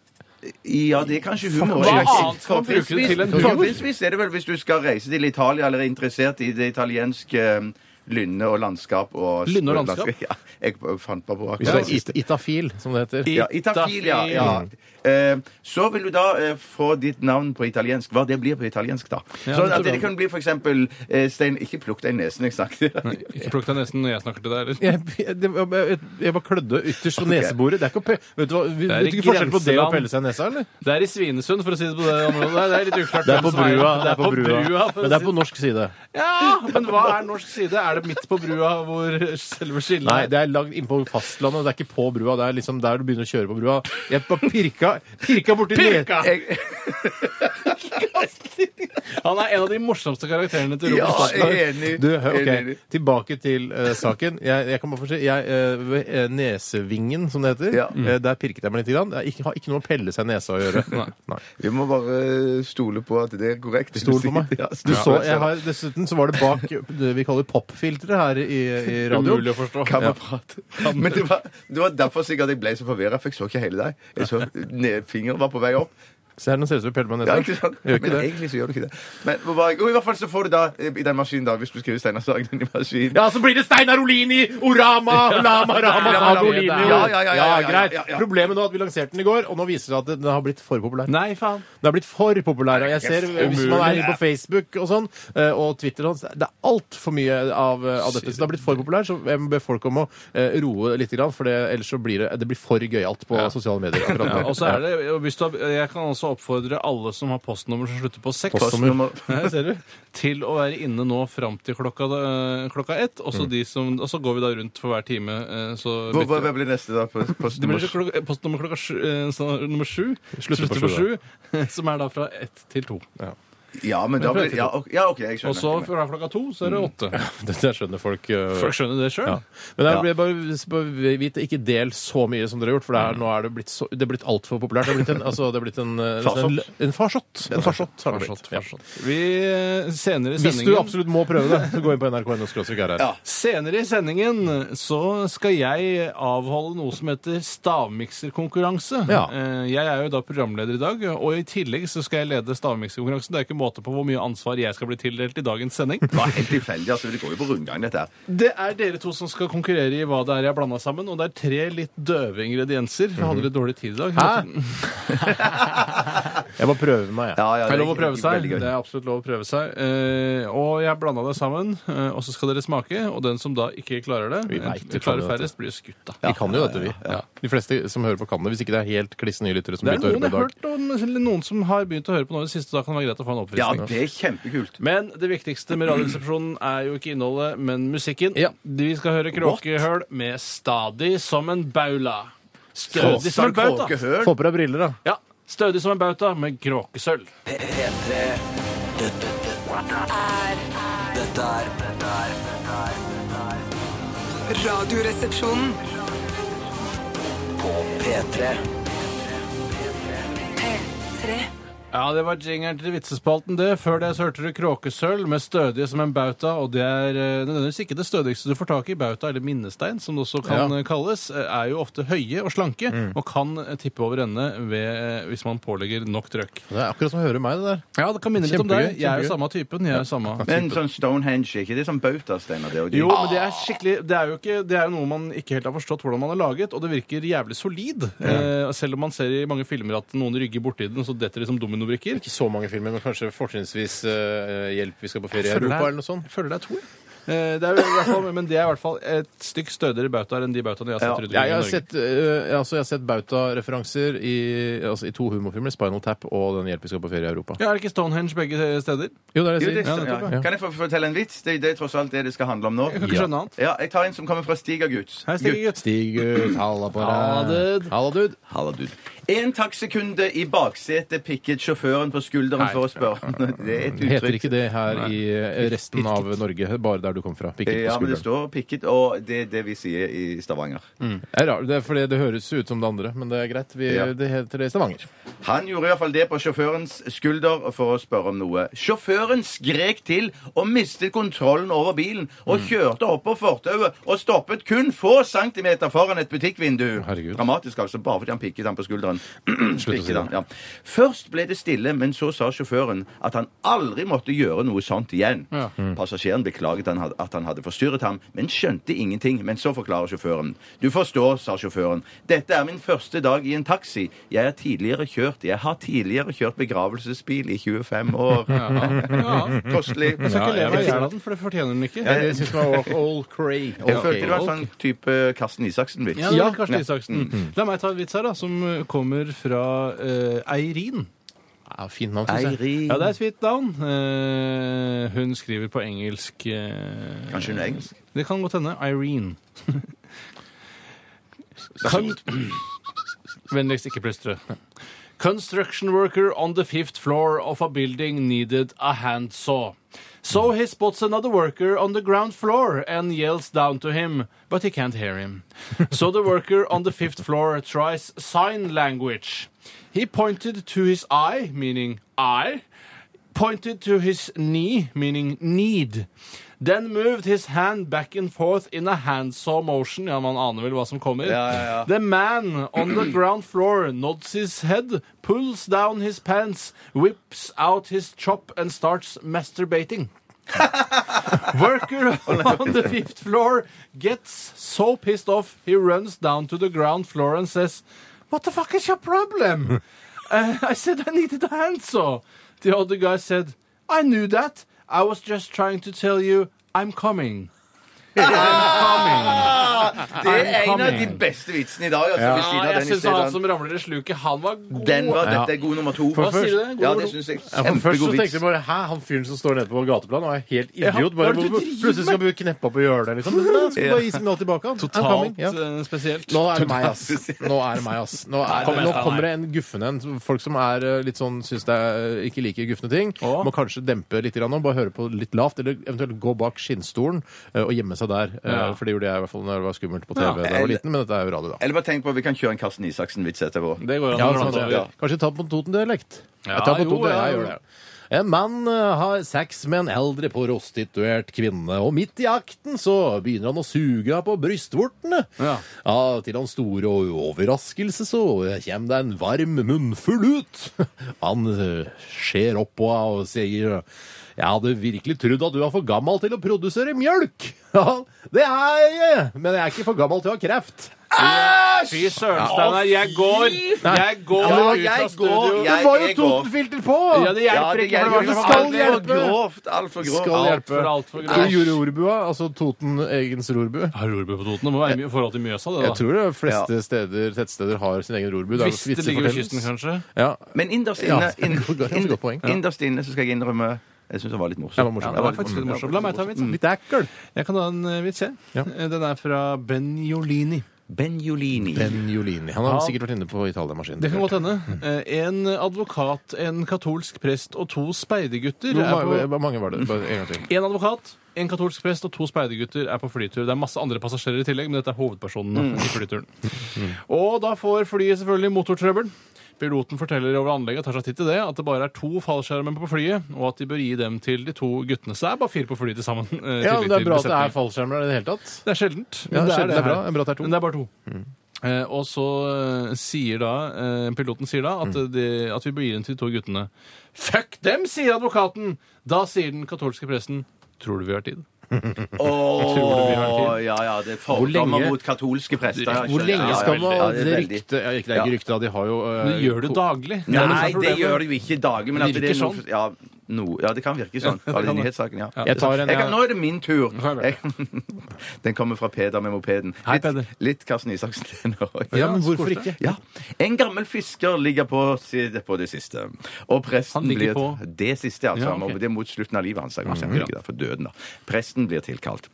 Ja, det er kanskje humor. Hva annet skal man bruke det Fortrinnsvis- til enn humor? Fortrinnsvis er det vel hvis du skal reise til Italia eller er interessert i det italienske eh, lynne og landskap og Lynne og landskap? Ja, jeg fant bare på Hvis akkurat det er it- Itafil, som det heter. ja, Itafil, ja. ja. Eh, Så vil du da eh, få ditt navn på italiensk. Hva det blir på italiensk, da. Ja, sånn det tror at det jeg. kan bli for eksempel eh, Stein Ikke plukk deg i nesen, jeg snakket. Ikke plukk deg nesten når jeg snakker til deg, eller? Jeg, jeg, jeg, jeg bare klødde ytterst på neseboret. Det er ikke å pe... Vet du, hva, vi, er vet du i ikke forskjell på det og grenseland. pelle seg i nesa, eller? Det er i Svinesund, for å si det på det området. Nei, Det er litt uklart. hvem som Det er på brua. for Men å det si er på norsk side. Ja, men hva er norsk side? Er det midt på brua hvor selve skillet Nei, det er lagd innpå fastlandet. Det er ikke på brua. Det er liksom der du begynner å kjøre på brua. Jeg bare pirka, pirka borti Pirka! nes- Jeg, Han er en av de morsomste karakterene til ja, Robert Stoltenberg. jeg er enig. Du, hør, Jeg er ok, enig. Tilbake til eh, saken. Jeg, jeg kan bare få si, jeg, eh, ved, eh, Nesevingen, som det heter, Ja. eh, der pirket jeg meg litt. Grann. Det er ikke, har ikke noe med å pelle seg i nesa å gjøre. Nei. Vi må bare stole på at det er korrekt. Stol på meg. Ja, Du stol på så, meg. jeg har, dessuten så var det bak det vi kaller popfilteret her i, i radioen. Umulig å forstå. Kan man prate? Men det var, det var derfor sikkert jeg ble så forvirra, for jeg så ikke hele deg. Jeg så ned, Fingeren var på vei opp. Se her, nå ser det ut som jeg peller meg i Ja, nesa. ikke sant? Gjør ikke Men det. egentlig så gjør du ikke det. Men hvor var jeg? jo, i hvert fall så får du da eh, i den maskinen, da, hvis du skriver Steinar Sagen i maskinen Ja, så blir det Steinar Olini, Orama, Olama, Rama, Ja, Sago, ja, Olini. ja, ja, ja, ja, ja, ja, greit. ja, ja. Problemet nå er at vi lanserte den i går, og nå viser det seg at den- den har blitt for populær. Nei, faen. Den har blitt for populær. og Jeg ser, eh, Yes, Hvis man er inne på Facebook og sånn, eh, og Twitter og sånn, det er altfor mye av, eh, av dette. Så det har blitt for populær, så jeg må be folk om å eh, roe litt, grann, for det, ellers så blir det, det blir for gøyalt på sosiale medier. akkurat Ja, nå. og så er det, og hvis du har, jeg kan også oppfordre alle som har postnummer som slutter på seks, Postnummer. Her ser du, til å være inne nå fram til klokka, eh, klokka ett. Også de som, og så går vi da rundt for hver time. eh, Så Hvor, bytter- hva blir neste, da? På, på det blir klokka, postnummer klokka sju, eh, så, nummer sju slutter, på sju, eh, som er da fra ett til to. Ja, men da blir Ja, ok, ja, ok, jeg Og så fra skjønner. klokka to så er det åtte. Dette skjønner folk. eh, Folk skjønner det sjøl. Ja. Men jeg vil bare, bare vite, ikke del så mye som dere har gjort, for det er, nå er det blitt, så- det er blitt altfor populært. Det er blitt en, altså, det er blitt en, eh, nesten en, en farsott. En farsott har det blitt. Ja. Vi eh, senere i Hvis du sendingen absolutt må prøve det, så gå inn på nrk.no. her. Ja. Senere i sendingen så skal jeg avholde noe som heter stavmikserkonkurranse. Ja. Eh, Jeg er jo da programleder i dag, og i tillegg så skal jeg lede stavmikserkonkurransen. Det er ikke måte på hvor mye ansvar jeg skal bli tildelt i dagens sending. Det var helt tilfeldig. altså, Det går jo på rundgang, dette her. Det er dere to som skal konkurrere i hva det er jeg har blanda sammen, og det er tre litt døve ingredienser. Jeg hadde litt dårlig tid i dag. Mhm. Hæ? Jeg må prøve meg, jeg. Ja, ja, Det er det lov å prøve seg. veldig gøy. Det er absolutt lov å prøve seg. Eh, og jeg blanda det sammen, eh, og så skal dere smake. Og den som da ikke klarer det, Vi vet eh, ikke klarer om dette. færrest, blir skutt, da. Vi kan jo dette, vi. De fleste som hører på, kan det. Hvis ikke det er helt kliss nye lyttere som Det er begynte å høre noen på jeg i har dag. hørt om, eller noen som har begynt å høre på nå i det siste. Da kan det være greit å få en Ja, oppvisning. det er kjempekult. Men det viktigste med Radioresepsjonen er jo ikke innholdet, men musikken. Ja. Vi skal høre Kråkehøl med 'Stadig som en baula'. Stødig som en bauta. Kråkehøl. Få på deg briller, da. Ja, Stødig som en bauta med kråkesølv. P3 Dette, dette, er dette er Dette er dette er- dette er Radioresepsjonen. På P3 P3 Ja, det var jingeren til vitsespalten, det. Før det så hørte du Kråkesølv med 'Stødige som en bauta', og det er eh, nødvendigvis ikke det stødigste du får tak i. Bauta, eller minnestein, som det også kan Ja. Mm. eh, kalles, eh, er jo ofte høye og slanke, og kan eh, tippe over ende ved, eh, hvis man pålegger nok trøkk. Det er akkurat som å høre meg, det der. Ja, det kan minne litt om Kjempegøy, deg. Jeg er jo kjempegøy. samme typen. Jeg er jo samme Men typen. sånn Stonehenge, ikke det er sånn bauta, Steinar? det, og de- Jo, men det er skikkelig Det er jo ikke, det er jo noe man ikke helt har forstått hvordan man har laget, og det virker jævlig solid. Eh, selv om man ser i mange filmer at noen rygger borti den, så detter de som domino pornobrikker. Ikke så mange filmer, men kanskje fortrinnsvis eh, Hjelp, vi skal på ferie i Jeg føler det Europa, er- eller noe sånt. jeg føler det er to. jeg. Eh, Det er jo i hvert fall, men det er i hvert fall et stykk stødigere bautaer enn de bautaene jeg har sett Jeg, rundt omkring i har Norge. sett, eh, altså, jeg har sett Bauta-referanser i, altså, i to humorfilmer, Spinal Tap og Den hjelp vi skal på ferie i Europa. Ja, er det ikke Stonehenge begge Jo, steder? det er Jo, det det, jeg sier. Altså, ja. Kan jeg få fortelle en vits? Det, det er tross alt det det skal handle om nå. Jeg kan ikke skjønne annet. Ja, jeg tar en som kommer fra Stigagutt. Hei, Stig gutt. Stig ut, halla på Halla, dude. deg. Halla, dude. En taxikunde i baksetet pikket sjåføren på skulderen for å spørre. Det er et Heter uttrykk. ikke det her i eh, resten av Norge, bare der du kom fra. Pikket på Ja, men det skulderen. står pikket, og det er det vi sier i Stavanger. Det er rart, det, er fordi det høres ut som det andre, men det er greit. Vi, Ja. Det heter det i Stavanger. Han gjorde i hvert fall det på sjåførens skulder for å spørre om noe. Sjåføren skrek til og mistet kontrollen over bilen og kjørte opp på fortauet og stoppet kun få centimeter foran et butikkvindu. Herregud. Dramatisk altså, bare fordi han pikket han på skulderen. Slutt å si Pikket han, det. ja. Først ble det stille, men så sa sjåføren at han aldri måtte gjøre noe sånt igjen. Ja. Mm. Passasjeren beklaget han had- at han hadde forstyrret ham, men skjønte ingenting. Men så forklarer sjåføren. Du forstår, sa sjåføren. Dette er min første dag i en taxi. Jeg er tidligere kjørt. Jeg har tidligere kjørt begravelsesbil i 25 år. Ja. Kostelig. Jeg skal Ja, ikke leve i jeg- hjel av den, for det fortjener den ikke. Det syns man var all cray. Jeg følte det var en sånn type Karsten Isaksen-vits. Ja, Mm, det var Karsten Isaksen. La meg ta en vits her, da, som eh, kommer fra eh, Eirin. Ja, Fint navn, syns jeg. Eirin. Ja, det er et fint navn. Eh, hun skriver på engelsk eh, Kanskje hun er engelsk? Det kan godt hende. Irene. kan... Vennligst ikke plystre. Construction worker on the fifth floor of a building needed a handsaw. So he spots another worker on the ground floor and yells down to him, but he can't hear him. So the worker on the fifth floor tries sign language. He pointed to his eye, meaning I, pointed to his knee, meaning need. Then moved his hand back and forth in a handsaw motion. Ja, man aner vel hva som kommer. Ja, ja, ja. The man on the ground floor nods his head, pulls down his pants, whips out his chop and starts masturbating. Worker on the fifth floor gets so pissed off he runs down to the ground floor and says, What the fuck is your problem? Uh, I said I needed a handsaw. The other guy said, I knew that. I was just trying to tell you I'm coming. I'm coming. Det er I'm en av de coming. beste vitsene i dag. Altså, ved Ja, jeg siden av den i syns stedet. han som ramler i sluket, han var god. Den var, Ja. Dette er god nummer to. Hva sier du det? God Ja, nummer to? det synes jeg. Ja, for først så Kjempegod tenkte jeg vits. bare Hæ, han fyren som står nede på gateplan og er helt Ja, idiot. hva er Bare, det du hvor- driver plutselig skal du kneppe på hjørnet. Liksom. Men da skal du bare gi signal tilbake. Han. I'm coming, Totalt ja. eh, spesielt. Nå er det meg, ass. Nå er det meg, ass. Nå, er, Kom igjen, nå Steinar. kommer det en guffen en. Folk som er eh, litt sånn, syns det er, ikke liker guffende ting. Å. Må kanskje dempe litt grann nå, bare høre på litt lavt. Eller eventuelt gå bak skinnstolen eh, og gjemme seg der. Eh, Ja. For det gjorde jeg i hvert fall når det var skummelt på TV Ja. da jeg var liten, men dette er jo radio, da. Eller bare tenk på, vi kan kjøre en Karsten Isaksen-vits etterpå. Det går an Ja, å sånn, glemme ja. over. Kanskje ta på en Toten-dialekt. Ja, Jeg tar på jo, Toten, ja, jeg jo. gjør det. En mann eh, har sex med en eldre prostituert kvinne, og midt i akten så begynner han å suge henne på brystvortene. Ja. Ja, til hans store overraskelse så kommer det en varm munnfull ut. Han eh, ser opp på henne og sier jeg hadde virkelig trodd at du var for gammel til å produsere mjølk. Ja, det er jeg, men jeg er ikke for gammel til å ha kreft. Fy søren, Steinar. Jeg går Jeg går Ja, ut jeg av studio. går. Det Jeg- var jo jeg går. Totenfilter på! Ja, det Ja, hjelper det ikke. hjelper for det ikke. var Skal så farlig. Alt for hjelpe. Grovt, altfor grovt. Skal Alt hjelpe. for- alt for grovt. Æsj. Jororbua, altså Toten egens rorbu. Har Rorbu på Toten? Det må være i forhold til Mjøsa, det, Jeg da. tror de fleste steder, tettsteder har sin egen rorbu. Det er jo Hvis det vitser ligger ved fortelles. kysten, kanskje. Ja. Men innerst Ja, inne, inn- det var et inn- godt poeng. Ja. innerst inne så skal jeg innrømme Jeg syns det var litt morsomt. Det var morsomt. Ja, det var faktisk litt morsomt. La meg ta en vits. da. Litt ekkel. Jeg kan ta en eh, vits, jeg. Ja. Eh, Den er fra Benjolini. Benjolini. Benjolini. Han har Ja. sikkert vært inne på Italia-maskinen. Det kan godt hende. Mm. Eh, En advokat, en katolsk prest og to speidergutter Hvor er ma- på hvor mange var det? Bare en gang til. En advokat, en katolsk prest og to speidergutter er på flytur. Det er masse andre passasjerer i tillegg, men dette er hovedpersonene Mm. i flyturen. Og da får flyet selvfølgelig motortrøbbel. Piloten forteller over anlegget tar seg tid til det, at det bare er to fallskjermer på flyet, og at de bør gi dem til de to guttene. Så det er bare fire på flyet til sammen. eh, Ja, til- det er til bra at det besetningen. er fallskjermer i det hele tatt. Det er sjeldent. Ja, men sjeldent er her. bra. Det er bra at det er to. Mm. Men det er bare to. Eh, og så eh, sier da eh, piloten sier da at, Mm. eh, de, at vi blir inn til de to guttene. Fuck dem, sier advokaten! Da sier den katolske presten Tror du vi har tid? Åh, ja, ja, det er Hvor fordommer lenge- mot katolske prester. jeg Hvor skjønner. lenge Ja, skal man ja, ha det er det veldig- ryktet ja, ikke- Det er ikke Ja. rykte, da. De har jo eh, Men du gjør det ko- daglig. Det er Nei, som er det problemet. gjør det jo ikke i dager, men at Det det, virker er noe, sånn. ja, no, ja, det kan virke sånn. Ja, det er nyhetssaken, ja. Ja. Jeg tar en- Jeg kan, nå er det min tur. er det. Jeg, den kommer fra Peder med mopeden. Hei, Litt, Peder. litt Karsten Isaksen til nå. Ja, men hvorfor Skårstad. ikke? Ja. En gammel fisker ligger på, si- på det siste. Og Han presten ligger blir på- Det siste, altså. Ja, Han må- ok. Det er mot slutten av livet hans. Han kanskje han ligger der for døden, da. Presten blir tilkalt.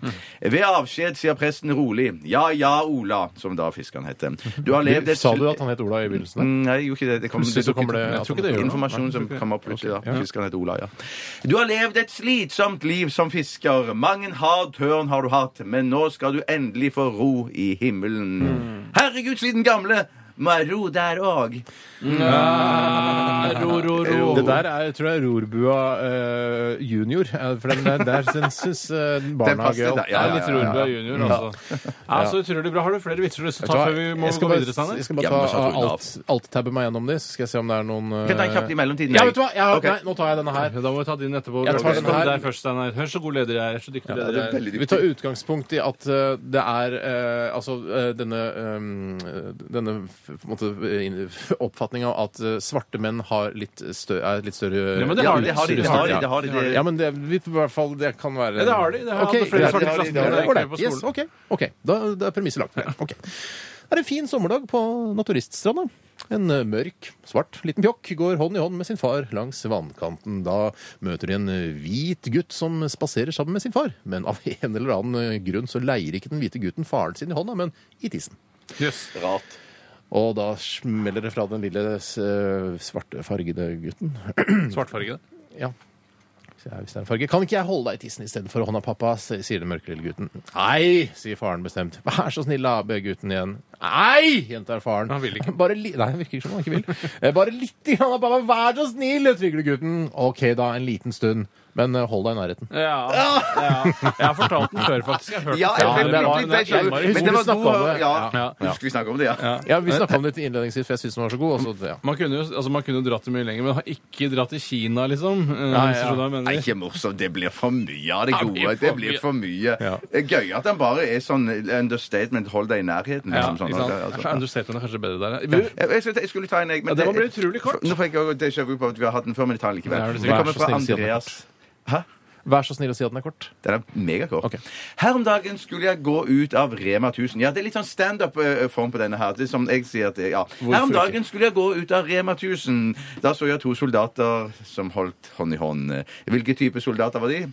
Ved avskjed sier presten rolig 'Ja ja, Ola', som da fiskeren heter. Du har levd et Sa du at han het Ola i begynnelsen? der? Mm, Nei, jeg gjorde ikke det. det kom, Plutselig så kommer det- dukket- Jeg tror ikke det gjør det. informasjon Nei, jeg som tror ikke kom opp plutselig. da. Fiskeren heter Ola, ja. Du har levd et slitsomt liv som fisker. Mang en hard tørn har du hatt, men nå skal du endelig få ro i himmelen. Mm. Herregud, sliten gamle! Må jeg ro der òg? Mm. Ro, ro, ro. Det der er, tror jeg er Rorbua eh, junior. eh, For den der, der den syns eh, barna er passer gøy. Mm. der, ja, ja, Litt Rorbua junior, altså. Ja, så utrolig bra. Har du flere vitser du har lyst til å ta før vi må Jeg skal gå bare, videre, Steinar? jeg skal bare Ja, men så ta tror jeg alt- alt-tabbe meg gjennom de, så skal jeg se om det er noen eh, Kan jeg ta en kjapt i mellomtiden? Ja, jeg? vet du hva? Jeg har, Ok. Nei, nå tar jeg denne her. Da må vi ta din etterpå. Jeg tar den Kom her. deg først, Steinar. Hør så god leder jeg er. Så dyktig leder det er jeg er. veldig Vi tar utgangspunkt i at eh, det er eh, altså eh, denne, eh, denne f- på en måte, eh, inn- oppfatningen av at eh, svarte menn har litt stø er litt større Ja, men det Ja, har det har de. Det har de, det har de, det- Ja, men det, vi, i hvert fall, det kan være Ja, det har de. Det har Ok, alle flere greit. svarte i Det har de, klassen det har når de. jeg Ålreit, gikk på Yes, ok. ok, da, da er premisset lagt. Ok. Det er en fin sommerdag på Naturiststranda. En eh, mørk, svart liten pjokk går hånd i hånd med sin far langs vannkanten. Da møter de en eh, hvit gutt som spaserer sammen med sin far. Men av en eller annen eh, grunn så leier ikke den hvite gutten faren sin i hånda, men i tissen. Jøss. Rart. Og da smeller det fra den lille eh, svarte fargede gutten. Svartfarge, det. Ja. Så jeg- Hvis det er en farge. Kan ikke jeg holde deg i tissen istedenfor hånda, pappa? s- sier den mørke lille gutten. Nei, sier faren bestemt. Vær så snill, da, ber gutten igjen. Nei, gjentar faren. Han vil ikke. Bare li Nei, han virker ikke som han ikke vil. Eh, Bare litt grann, da, pappa. Vær så snill, trygler gutten. Ok, da, en liten stund. Men eh, hold deg i nærheten. Ja, ja. Jeg har fortalt den før, faktisk. Jeg har hørt Ja, den jeg før. men vet, det var- litt, litt, litt, det var- litt, men det var vi snakket om god det. Ja, Ja. husker vi snakka om det, ja. Ja, Vi snakka om det innledningsvis, for jeg syns den var så god. Og så, ja. Man kunne jo altså man kunne jo dratt det mye lenger, men har ikke dratt til Kina, liksom. Nei, Eh, hvis du ja. skjønner hva jeg mener. Nei, ikke morsomt. Det blir for mye av det Ja, det blir gode. for Det blir for mye. Det er Gøy at han bare er sånn understatement. Hold deg i nærheten. Ja, Liksom, ikke sånn, sant? altså. Kanskje Understatement er kanskje bedre der. ja. Jeg, jeg, skulle, jeg skulle ta en, jeg. men Ja, det må bli utrolig kort. Nå fikk jeg også déjà vu på at vi har hatt den før, men jeg tar den likevel. Ja, det er det Det sikkert. kommer Vær fra så snill, si at den er Andreas. Hæ? Vær så snill å si at den er kort. Den er megakort. Ok. Her om dagen skulle jeg gå ut av Rema 1000. Ja, det er litt sånn standup-form på denne her. Det er som jeg sier at det, ja. Her om dagen skulle jeg gå ut av Rema 1000. Da så jeg to soldater som holdt hånd i hånd. Hvilke type soldater var de?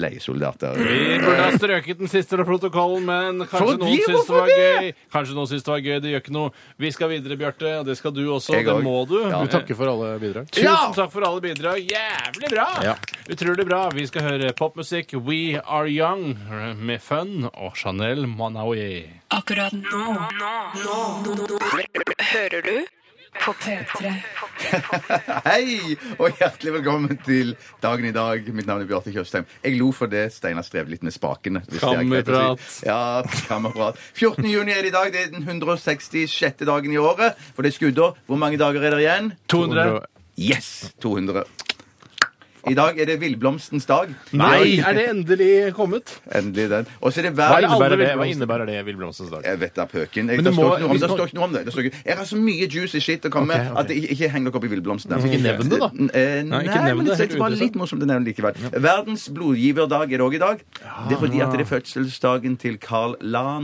Leiesoldater. Vi burde ha strøket den siste fra protokollen, men kanskje Fordi, noen syns det hvorfor var gøy. Kanskje noen syns det var gøy, det gjør ikke noe. Vi skal videre, Bjarte, og det skal du også. Jeg det òg. må du. Ja. Du takker for alle bidrag. Tusen takk for alle bidrag. Jævlig bra! Ja. Utrolig bra. Vi skal høre popmusikk We Are Young med Fun og Chanel Manaoui. Akkurat nå. Nå. Nå. Hører du på P3? Hei, og hjertelig velkommen til dagen i dag. Mitt navn er Bjarte Tjøstheim. Jeg lo for det Steinar strev litt med spakene. hvis det er greit å si. Ja, kammerprat. 14. juni er det i dag. Det er den 166. dagen i året. For det er skuddår. Hvor mange dager er det igjen? 200. Yes! 200. I dag er det villblomstens dag. Nei! Er det endelig kommet? Endelig den. Og så er det Hva hver innebærer det, Hva innebærer det Will Blomstens dag? Jeg vet da pøken. Jeg, Men det, det står må- ikke noe om, hvis det man- står ikke noe om det. det står ikke. Jeg har så mye juicy shit å komme med Ok, ok. at jeg ikke, ikke heng dere opp i villblomsten. ikke nevn det, da. N- eh, Nei, ikke nevn det. men jeg synes det var litt morsomt å nevne likevel. Verdens blodgiverdag er det òg i dag. Det er fordi at Ah. det er fødselsdagen til Carl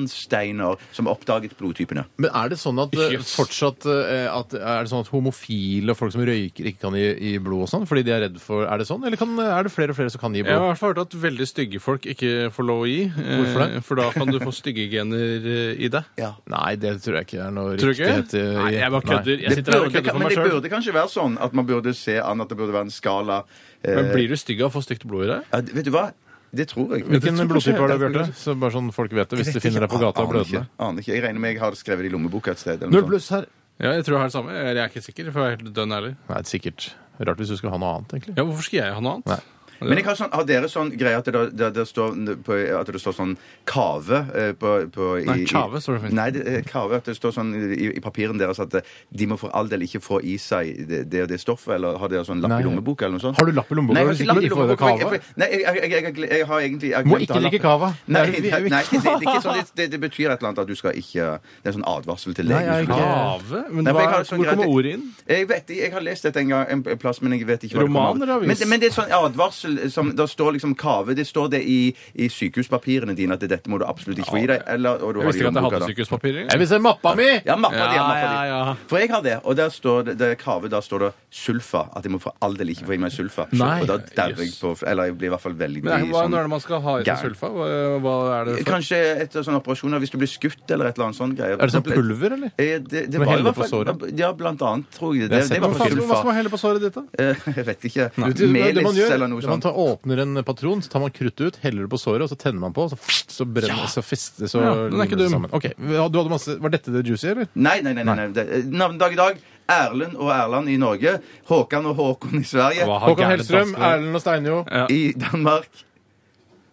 Lahnsteiner, som oppdaget blodtypene. Men er det sånn at eh, Jøss. fortsatt eh, at, Er det sånn at homofile og folk som røyker, ikke kan gi, gi blod og sånn? Fordi de er redd for Er det sånn, eller kan, er det flere og flere som kan gi Jeg har i blod? hvert fall hørt at veldig stygge folk ikke får lov å gi. eh, Hvorfor det? For da kan du få stygge gener eh, i deg. Ja. Nei, det tror jeg ikke er noe Tror du ikke? eh, riktighet i- Nei, jeg bare kødder. Jeg Det sitter her og burde, kødder for men meg det sjøl. burde kanskje være sånn at man burde se an at det burde være en skala eh, Men blir du stygg av å få stygt blod i deg? ja, Vet du hva? Det tror jeg. Hvilken Det tror jeg blodtype ikke. har du, Bjarte? Så bare sånn folk vet det, hvis de finner deg på gata og Aner ikke. blødende. Aner ikke. Jeg regner med jeg har det skrevet i lommeboka et sted. eller noe Null sånt. pluss her. Ja, jeg tror jeg har det samme. Jeg er ikke sikker, for jeg er helt dønn ærlig. Nei, sikkert. Rart hvis du skulle ha noe annet, egentlig. Ja, hvorfor skal jeg ha noe annet? Nei. Men jeg har, sånn, har dere sånn greie at det, da- det, det, står, n- på, at det står sånn kave eh, på, på i, Nei, i- kjave står det fint. Nei, det, eh, kave. At det står sånn i, i papiren deres at eh, de må for all del ikke få i seg det det og det stoffet, eller har dere sånn lapp Nei. i lommeboka eller noe sånt? Har du lapp i lommeboka Nei, jeg hvis har ikke ikke du får lapp i i deg lommeboka. for kave? Jeg, for- nei, jeg, jeg, jeg, jeg, jeg har egentlig jeg har Må glemt å ikke ha drikke lappen. kava. Nei, Det er- vi- nei, vi- nei det, det, det, er ikke sånn, det, det betyr et eller annet at du skal ikke Det er en sånn advarsel til liksom. Nei, jeg er legen. ikke- Gave? Men Nei, for hva, jeg har sånn hvor kommer greit- ordet inn? Jeg vet ikke, jeg har lest dette en gang en plass, men jeg vet ikke hva Roman det eller avis? kommer av. Men, men det er sånn advarsel som Da står liksom kave. Det står det i, i sykehuspapirene dine at dette må du absolutt ikke få i deg. Jeg Eller, og du har visste det ikke at i jeg lommeboka, hadde da. sykehuspapirer. Jeg vil se mappa mi! Ja, mappa di. Ja, Ja, mappa ja, ja. di. For jeg har det, og der står det, det er kave, da står det sulfa. At jeg må for all del ikke få i meg sulfa. Nei. Og da dauer jeg på Eller jeg blir i hvert fall veldig Men hva sånn- når er det man skal ha i seg Gæren. sulfa? Hva, hva er det for? Kanskje etter sånne operasjoner, hvis du blir skutt eller et eller annet sånt greier. Er det sånn pulver, eller? Eh, Det, det Må var i helle hvert på fall Ja, blant annet, tror jeg. Jeg har Det, det, sett var på for film. Hva skal sulfa. man helle på såret ditt, da? Eh, Jeg vet ikke. Vet du, det man Melis gjør, eller noe det man sånt. tar, åpner en patron, så tar man kruttet ut, heller det på såret, og så tenner man på, og så, så brenner så fester så Ja, den er ikke limer det dum. sammen. Ok, ja, du hadde masse, Var dette det juicy, eller? Nei, nei, nei. nei, nei. Det, eh, navnedag i dag. Erlend og Erland i Norge. Håkan og Håkon i Sverige. Hva? Ah, Håkan gærent Hellstrøm, vanskelig. Erlend og Steinjo. I Danmark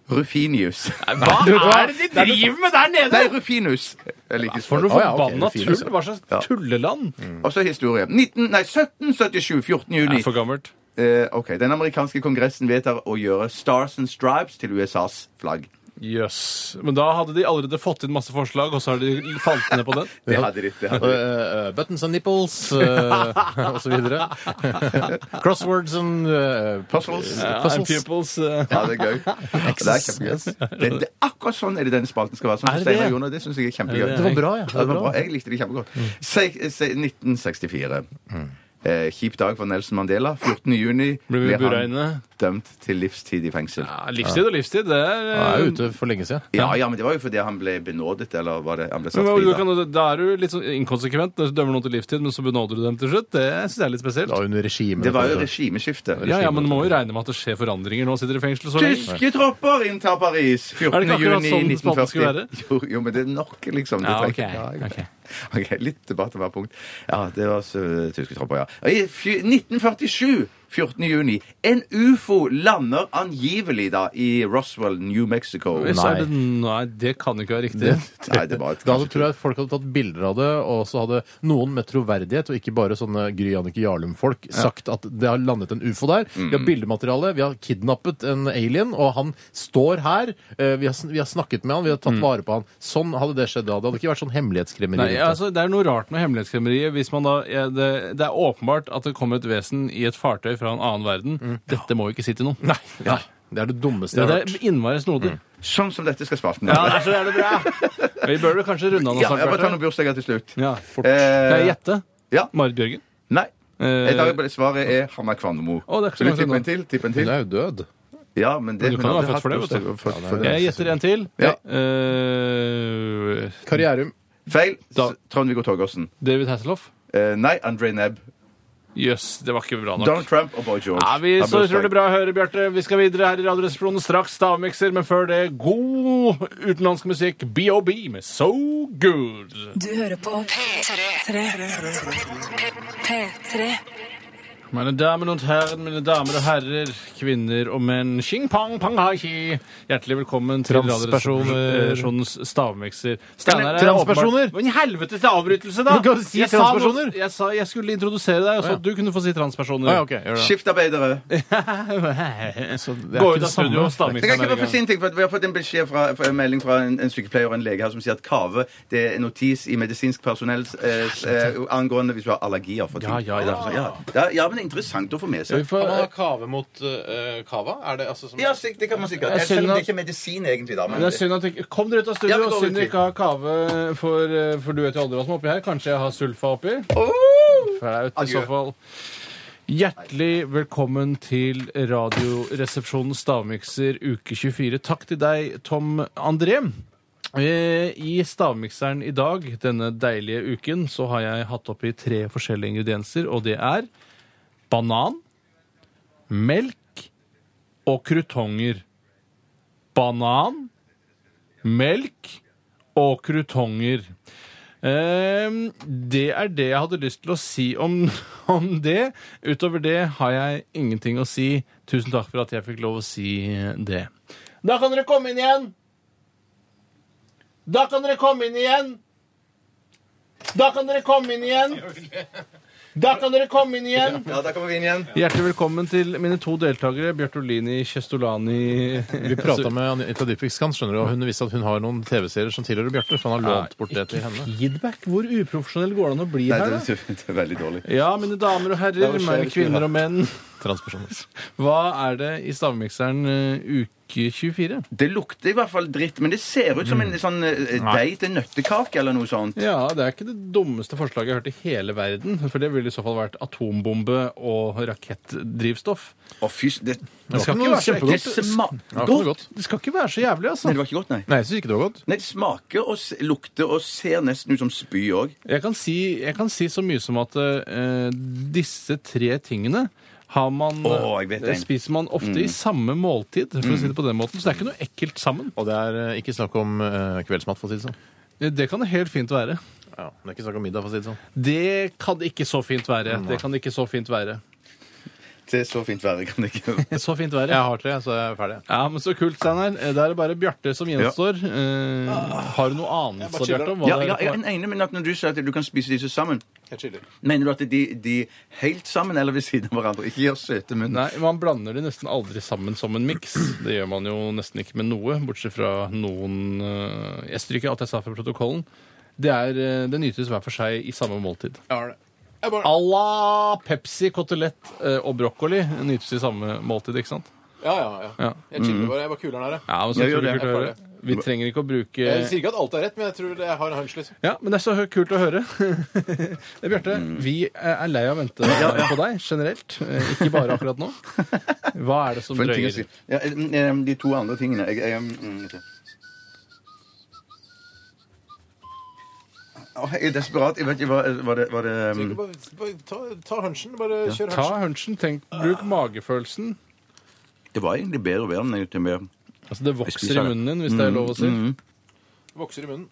Rufinius. Hva er det de driver med der nede?! Nei, Rufinus. Jeg liker For noe Å, ja, ok, forbanna det er fint, tull! altså. Hva slags Ja. Mm. tulleland? Og så historie. 19, nei, 1777. 14. juni. Det er for gammelt. Eh, ok, Den amerikanske kongressen vedtar å gjøre Stars and Stripes til USAs flagg. Jøss. Men da hadde de allerede fått inn masse forslag, og så har de falt ned på den? Det hadde de. Det hadde de. Eh, eh, buttons and nipples eh, og så videre. Crosswords and eh, Puzzles. eh, Ja, and puzzles. pupils eh, Ja, det er gøy. Det er kjempegøy. Det, det, akkurat sånn er det denne spalten skal være. Sånn Er for det det? Steinar og Jonas, det syns jeg er kjempegøy. Er det Mm. Det var bra, ja. Ja, det var bra. Jeg likte det kjempegodt. Se, se, 1964. Eh, kjip dag for Nelson Mandela. 14. juni Blir vi bura han inne? dømt til livstid i fengsel. Ja, livstid og livstid, det er Jeg er eh, jo ute for lenge siden. Ja, ja, men det var jo fordi han ble benådet, eller var det han ble satt men hva- fri du da? kan, da er du litt sånn inkonsekvent når du dømmer noen til livstid, men så benåder du dem til slutt. Det syns jeg er litt spesielt. Det var under regimet. Det var jo regimeskifte. Ja, ja, men du må jo regne med at det skjer forandringer nå, sitter de i fengsel så lenge. Tyske tropper inntar Paris 14. Er det ikke akkurat juni sånn spalten 1940. skulle være? Jo, jo, men det er nok, liksom. Det Ja, trenger- ok, jeg vet det. Ok, Litt debatt om hvert punkt. Ja, det var så, eh, tyske tropper, ja. Og I fj- 1947, 14. juni, en ufo lander angivelig da i Roswell, New Mexico. Nei. Så er Nei. det, nei, det kan jo ikke være riktig. Det, Nei, det var et da hadde, tror jeg folk hadde tatt bilder av det, og så hadde noen med troverdighet, og ikke bare sånne Gry Jannicke Jarlum-folk, sagt at det har landet en ufo der. Vi har bildemateriale, vi har kidnappet en alien, og han står her. eh, Vi har, sn- vi har snakket med han, vi har tatt vare på han. Sånn hadde det skjedd da. Det hadde ikke vært sånn hemmelighetskremmeri. Nei, altså, det er noe rart med hemmelighetskremmeriet. Hvis man da, ja, det, det er åpenbart at det kom et vesen i et fartøy fra en annen verden. Mm. Dette må vi ikke si til noen. Ja, det er det dummeste Det, jeg har hørt. er innmari snodig. Sånn som dette skal spalten Ja, være. derfor er det bra. Vi bør vel kanskje runde av nå Ja, jeg snart? bare tar noen Bjarte? bursdager til slutt. Ja, fort. Nei, Eh, Gjette. ja. Marit Bjørgen. Nei. Eh, Jeg tar bare svaret er Hanna Kvanemo. Å, det er ikke så Vil du langt tippe unna. en til? Tippe en Hun til? er jo død. Ja, men det Men du hun kan jo hadde være født for det, hatt vet du. bursdag- født- født- Eh, jeg gjetter en til. Ja. Eh, Karrierum. Feil. Da- Trond-Viggo Torgersen. David Hasselhoff. Eh, nei, André Nebb. Jøss, det var ikke bra nok. Donald Trump og Boy George. Ja, vi Har så bursdag. utrolig bra å høre, Bjarte. Vi skal videre her i Radioresepsjonen. Straks stavmikser, men før det god utenlandsk musikk. BOB med So Good. Du hører på P3. P3. Mine damer og herrer, mine damer og herrer, kvinner og menn. Xing pang pang hai hi. Hjertelig velkommen til Transpersoner. Radioresepsjonens stavmikser. Steinar er Transpersoner? åpenbart- Men i helvetes avbrytelse, da! Men kan du si jeg, sa noe, transpersoner? jeg sa jeg skulle introdusere deg, og så at du kunne få si transpersoner. Ah, ja, ok, gjør det. Skiftarbeidere. Så det er Gå ikke ut det av studio samme. og stavmikser Jeg kan med ikke en bare få gang. si en ting, for at Vi har fått en beskjed fra, fra en melding fra en, en sykepleier og en lege her som sier at kave det er notis i medisinsk personell eh, s- eh, angående hvis du har allergier. For ting. Ja, ja, ja. ja. ja, ja, men det er interessant å få med seg. Kan man ha kave mot eh, kava? Er det altså som Ja, sik- det kan man sikkert. Jeg Selv om skjønner- det ikke er medisin, egentlig. da. Men Men det er synd at ikke, Kom dere ut av studio. Ja, vi går synd ut, vi. dere ikke har kave, for, eh, for du vet jo aldri hva som er oppi her. Kanskje jeg har sulfa oppi? Flaut i Oh! Adjø. så fall. Hjertelig velkommen til Radioresepsjonens stavmikser uke 24. Takk til deg, Tom André. Eh, I stavmikseren i dag, denne deilige uken, så har jeg hatt oppi tre forskjellige ingredienser, og det er banan, melk og krutonger. Banan, melk og krutonger. Ehm, det er det jeg hadde lyst til å si om, om det. Utover det har jeg ingenting å si. Tusen takk for at jeg fikk lov å si det. Da kan dere komme inn igjen! Da kan dere komme inn igjen! Da kan dere komme inn igjen! Da kan dere komme inn igjen! Ja, der kommer vi inn igjen. Hjertelig velkommen til mine to deltakere, Bjørtolini Kjestolani Vi prata med Anita Dypikskan, skjønner du, og hun visste at hun har noen TV-serier som tilhører Bjarte, for han har lånt bort det til henne. Feedback? Hvor uprofesjonell går det an å bli Nei, her, det da? er, det er veldig dårlig. Ja, mine damer og herrer, Det var mine skjevt, kvinner ja. og menn. Transpersoner. Hva er det i Stavmikseren eh, uke 24? Det lukter i hvert fall dritt, men det ser ut Mm. som en sånn eh, deig til nøttekake eller noe sånt. Ja, det er ikke det dummeste forslaget jeg har hørt i hele verden. For det ville i så fall vært atombombe og rakettdrivstoff. Å, fy s- det, altså Det skal ikke ikke noe være så det ekkelt. smaker Ja, det var godt. godt. Det skal ikke være så jævlig, altså. Nei, det var ikke godt, nei. Nei, jeg syns ikke det var godt. Nei, Det smaker og s- lukter og ser nesten ut som spy òg. Jeg kan si, jeg kan si så mye som at eh, disse tre tingene har man, Åh, jeg vet eh, en. spiser man ofte i samme måltid, for å si det på den måten. Så det er ikke noe ekkelt sammen. Og det er eh, ikke snakk om eh, kveldsmat, for å si det sånn. Det Eh, det kan det helt fint være. Ja, det er ikke snakk om middag, for å si det sånn. Det kan det ikke så fint være. Det kan det ikke så fint være. Det er så fint været kan det ikke være. Så fint være. Jeg Ja. har tre, så jeg er ferdig. men Så kult, Steinar. Eh, Da er det bare Bjarte som gjenstår. Eh, har du noe anelse, Bjarte? om hva Ja, det ja, er jeg for- er enig, men at når du sier at du kan spise disse sammen Mener du at de, de helt sammen eller ved siden av hverandre ikke gjør søte munn? Nei, Man blander de nesten aldri sammen som en miks. Det gjør man jo nesten ikke med noe, bortsett fra noen eh, Jeg stryker alt jeg sa fra protokollen. Det, er, eh, det nytes hver for seg i samme måltid. À la Pepsi, kotelett eh, og brokkoli nytes i samme måltid, ikke sant? Ja, ja, ja. Ja. Jeg chiller Mm. bare. Jeg var kulere enn her, jeg. Ja, men så Jeg gjør utrolig det. kult å høre. Vi trenger ikke å bruke Jeg sier ikke at alt er rett, men jeg tror jeg har en hunch, liksom. Ja, men det er så hø- kult å høre. Det er Bjarte, Mm. vi er lei av å vente på deg generelt. Eh, Ikke bare akkurat nå. Hva er det som For en ting å drøyer? si. Ja, em, em, de to andre tingene jeg, jeg, em, mm, vet du. Åh, jeg er desperat. Jeg vet ikke hva var det, var det mm, em, Ikke Bare, bare ta, ta hunchen. Bare kjør Ta hunchen. hunchen, tenk, bruk magefølelsen. Det var egentlig bedre og bedre enn jeg gjorde mer. Altså, det Mm. Jeg vokser spiser i det. munnen din, hvis det er lov å si. Vokser i munnen.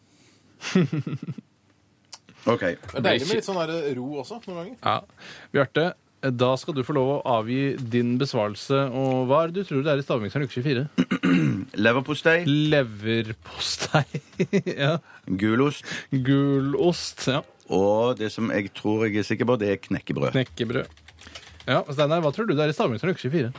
OK. Det er deilig med litt sånn der ro også, noen ganger. Ja. Bjarte, da skal du få lov å avgi din besvarelse. Og hva er det du tror det er i Stavmikseren uke 24? Leverpostei, Leverpostei. ja. gulost Gulost. Ja. og det som jeg tror jeg er sikker på, det er knekkebrød. Knekkebrød. Ja, Steinar, hva tror du det er i Stavmikseren uke 24?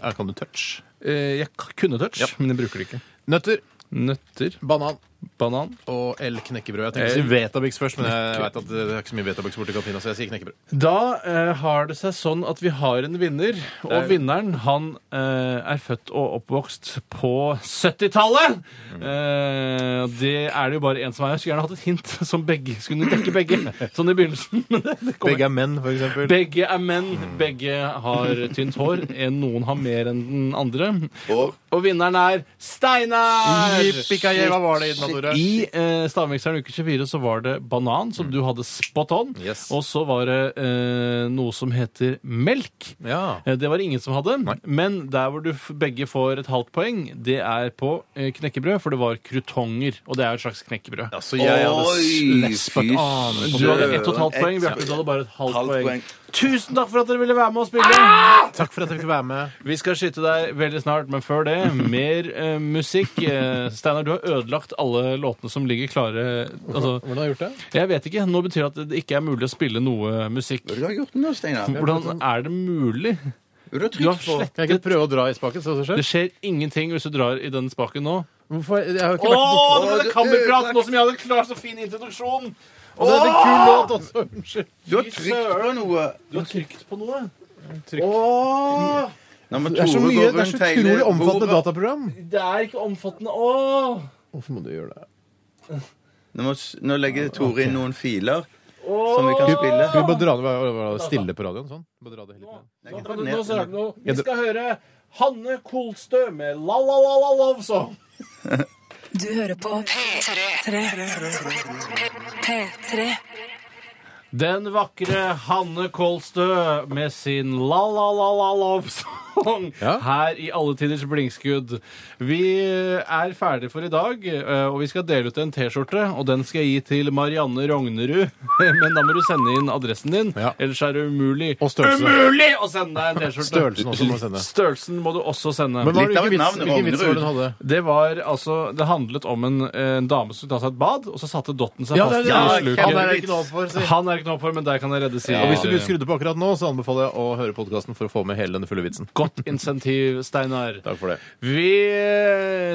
Her kan du touch. Eh, Jeg k- kunne touch, men jeg bruker det ikke. Nøtter, Nøtter. banan Banan. og L-knekkebrød. Jeg tenkte å si El- Vetabix først, men jeg vet at det er ikke så mye Vetabix borte i kantina, så jeg sier knekkebrød. Da eh, har det seg sånn at vi har en vinner, og vinneren han eh, er født og oppvokst på 70-tallet! Eh, det er det jo bare én som er. Jeg skulle gjerne hatt et hint som begge skulle dekke begge. Sånn i begynnelsen. Men det, det kommer. Begge er menn, for eksempel. Begge er menn, begge har tynt hår. En, noen har mer enn den andre. Og Og vinneren er Steinar! Jippikaje, hva var det i den andre? I eh, Stavmikseren uke 24 så var det banan, som du hadde spot on. Mm. Yes. Og så var det eh, noe som heter melk. Ja. Eh, Det var ingen som hadde. Men der hvor du f- begge får et halvt poeng, det er på eh, knekkebrød, for det var krutonger. Og det er jo et slags knekkebrød. Ah, Altså, jeg hadde Oi, lespa fy et annet. Du hadde ett og et halvt Ett- poeng. Bjarte, du hadde bare et halvt, Halvt poeng. poeng. Ah! Tusen takk for at dere ville være med og spille! Takk for at jeg fikk være med. Vi skal skyte deg veldig snart, men før det, mer eh, musikk. Eh, Steinar, du har ødelagt alle låtene som ligger klare. Altså, Hvordan har jeg gjort det? jeg vet ikke. Nå betyr det at det ikke er mulig å spille noe musikk. Hva har du gjort nå, Steinar? Hvordan er det mulig? Du Du har har trykt på slett Kan jeg ikke prøve å dra i spaken? se hva som skjer? Det skjer ingenting hvis du drar i den spaken nå. Hvorfor? Jeg har jo ikke Åh, vært borte. det var det kammerprat! Nå som jeg hadde klart så fin introduksjon! Og det er en kul låt også. Unnskyld. Du har trykt på noe. Du har trykt på noe. Nå må Det er så Tore mye, det gå er rundt så hele utrolig omfattende bordet. dataprogram. Det er ikke omfattende. Åh! Hvorfor må du gjøre det? Nå, må, s- nå legger Tore inn noen filer som vi kan spille. Skal vi bare dra det være- være stille på radioen sånn? Bare dra det helt ned. Nå kan du- nå ser du noe. Vi skal høre Hanne Kolstø med La La La La Love Song. Du hører på P3. Den vakre Hanne Kolstø med sin La La La La Love Song. sesong Ja. her i Alle tiders blinkskudd. Vi er ferdige for i dag, eh, og vi skal dele ut en T-skjorte. Og den skal jeg gi til Marianne Rognerud. Men da må du sende inn adressen din, Ja. ellers er det umulig Og størrelse. Umulig å sende deg en T-skjorte! Størrelsen også må du sende. Størrelsen må du også sende. Men hva, Litt av hvilken et vits, navn, hvilken vits var det Rognerud. hun hadde? Det var altså, det handlet om en, en dame som skulle ta seg et bad, og så satte dotten seg Ja, det er fast det. i Ja, sluket. Han er det ikke noe for, si. Han er ikke noe for, men der kan jeg redde sida. Og hvis du blir skrudd på akkurat nå, så anbefaler jeg å høre podkasten for å få med hele denne fulle vitsen. Godt insentiv, Steinar. Takk for det. Vi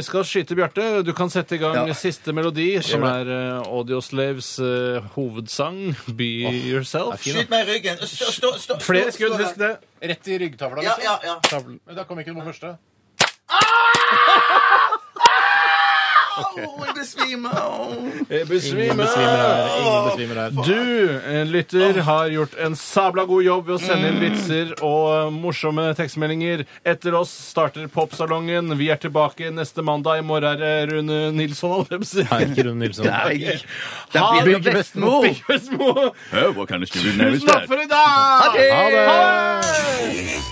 skal skyte Bjarte. Du kan sette i gang siste melodi, som er eh, Audio Slaves eh, hovedsang, Be Yourself. fin, da. Skyt meg i ryggen. Stå, stå, stå. liksom. Flere skudd, husk det. Rett i ryggtavla. Ja, ja, ja. Men da kom ikke den på første. Å, jeg besvimer! Å. Jeg Ingen besvimer her. Ingen besvimer her. Du, eh, lytter, har gjort en sabla god jobb ved å sende Mm. inn vitser og eh, morsomme tekstmeldinger. Etter oss starter popsalongen. Vi er tilbake neste mandag. I morgen er det Rune Nilsson, holdt jeg på å si. Nei, ikke Rune Nilsson. Nei. Det Ha- er Birger Vestmo! Birger Vestmo. Hør, hva kan du skrive ned i Tusen takk sted? for i dag! Ha det!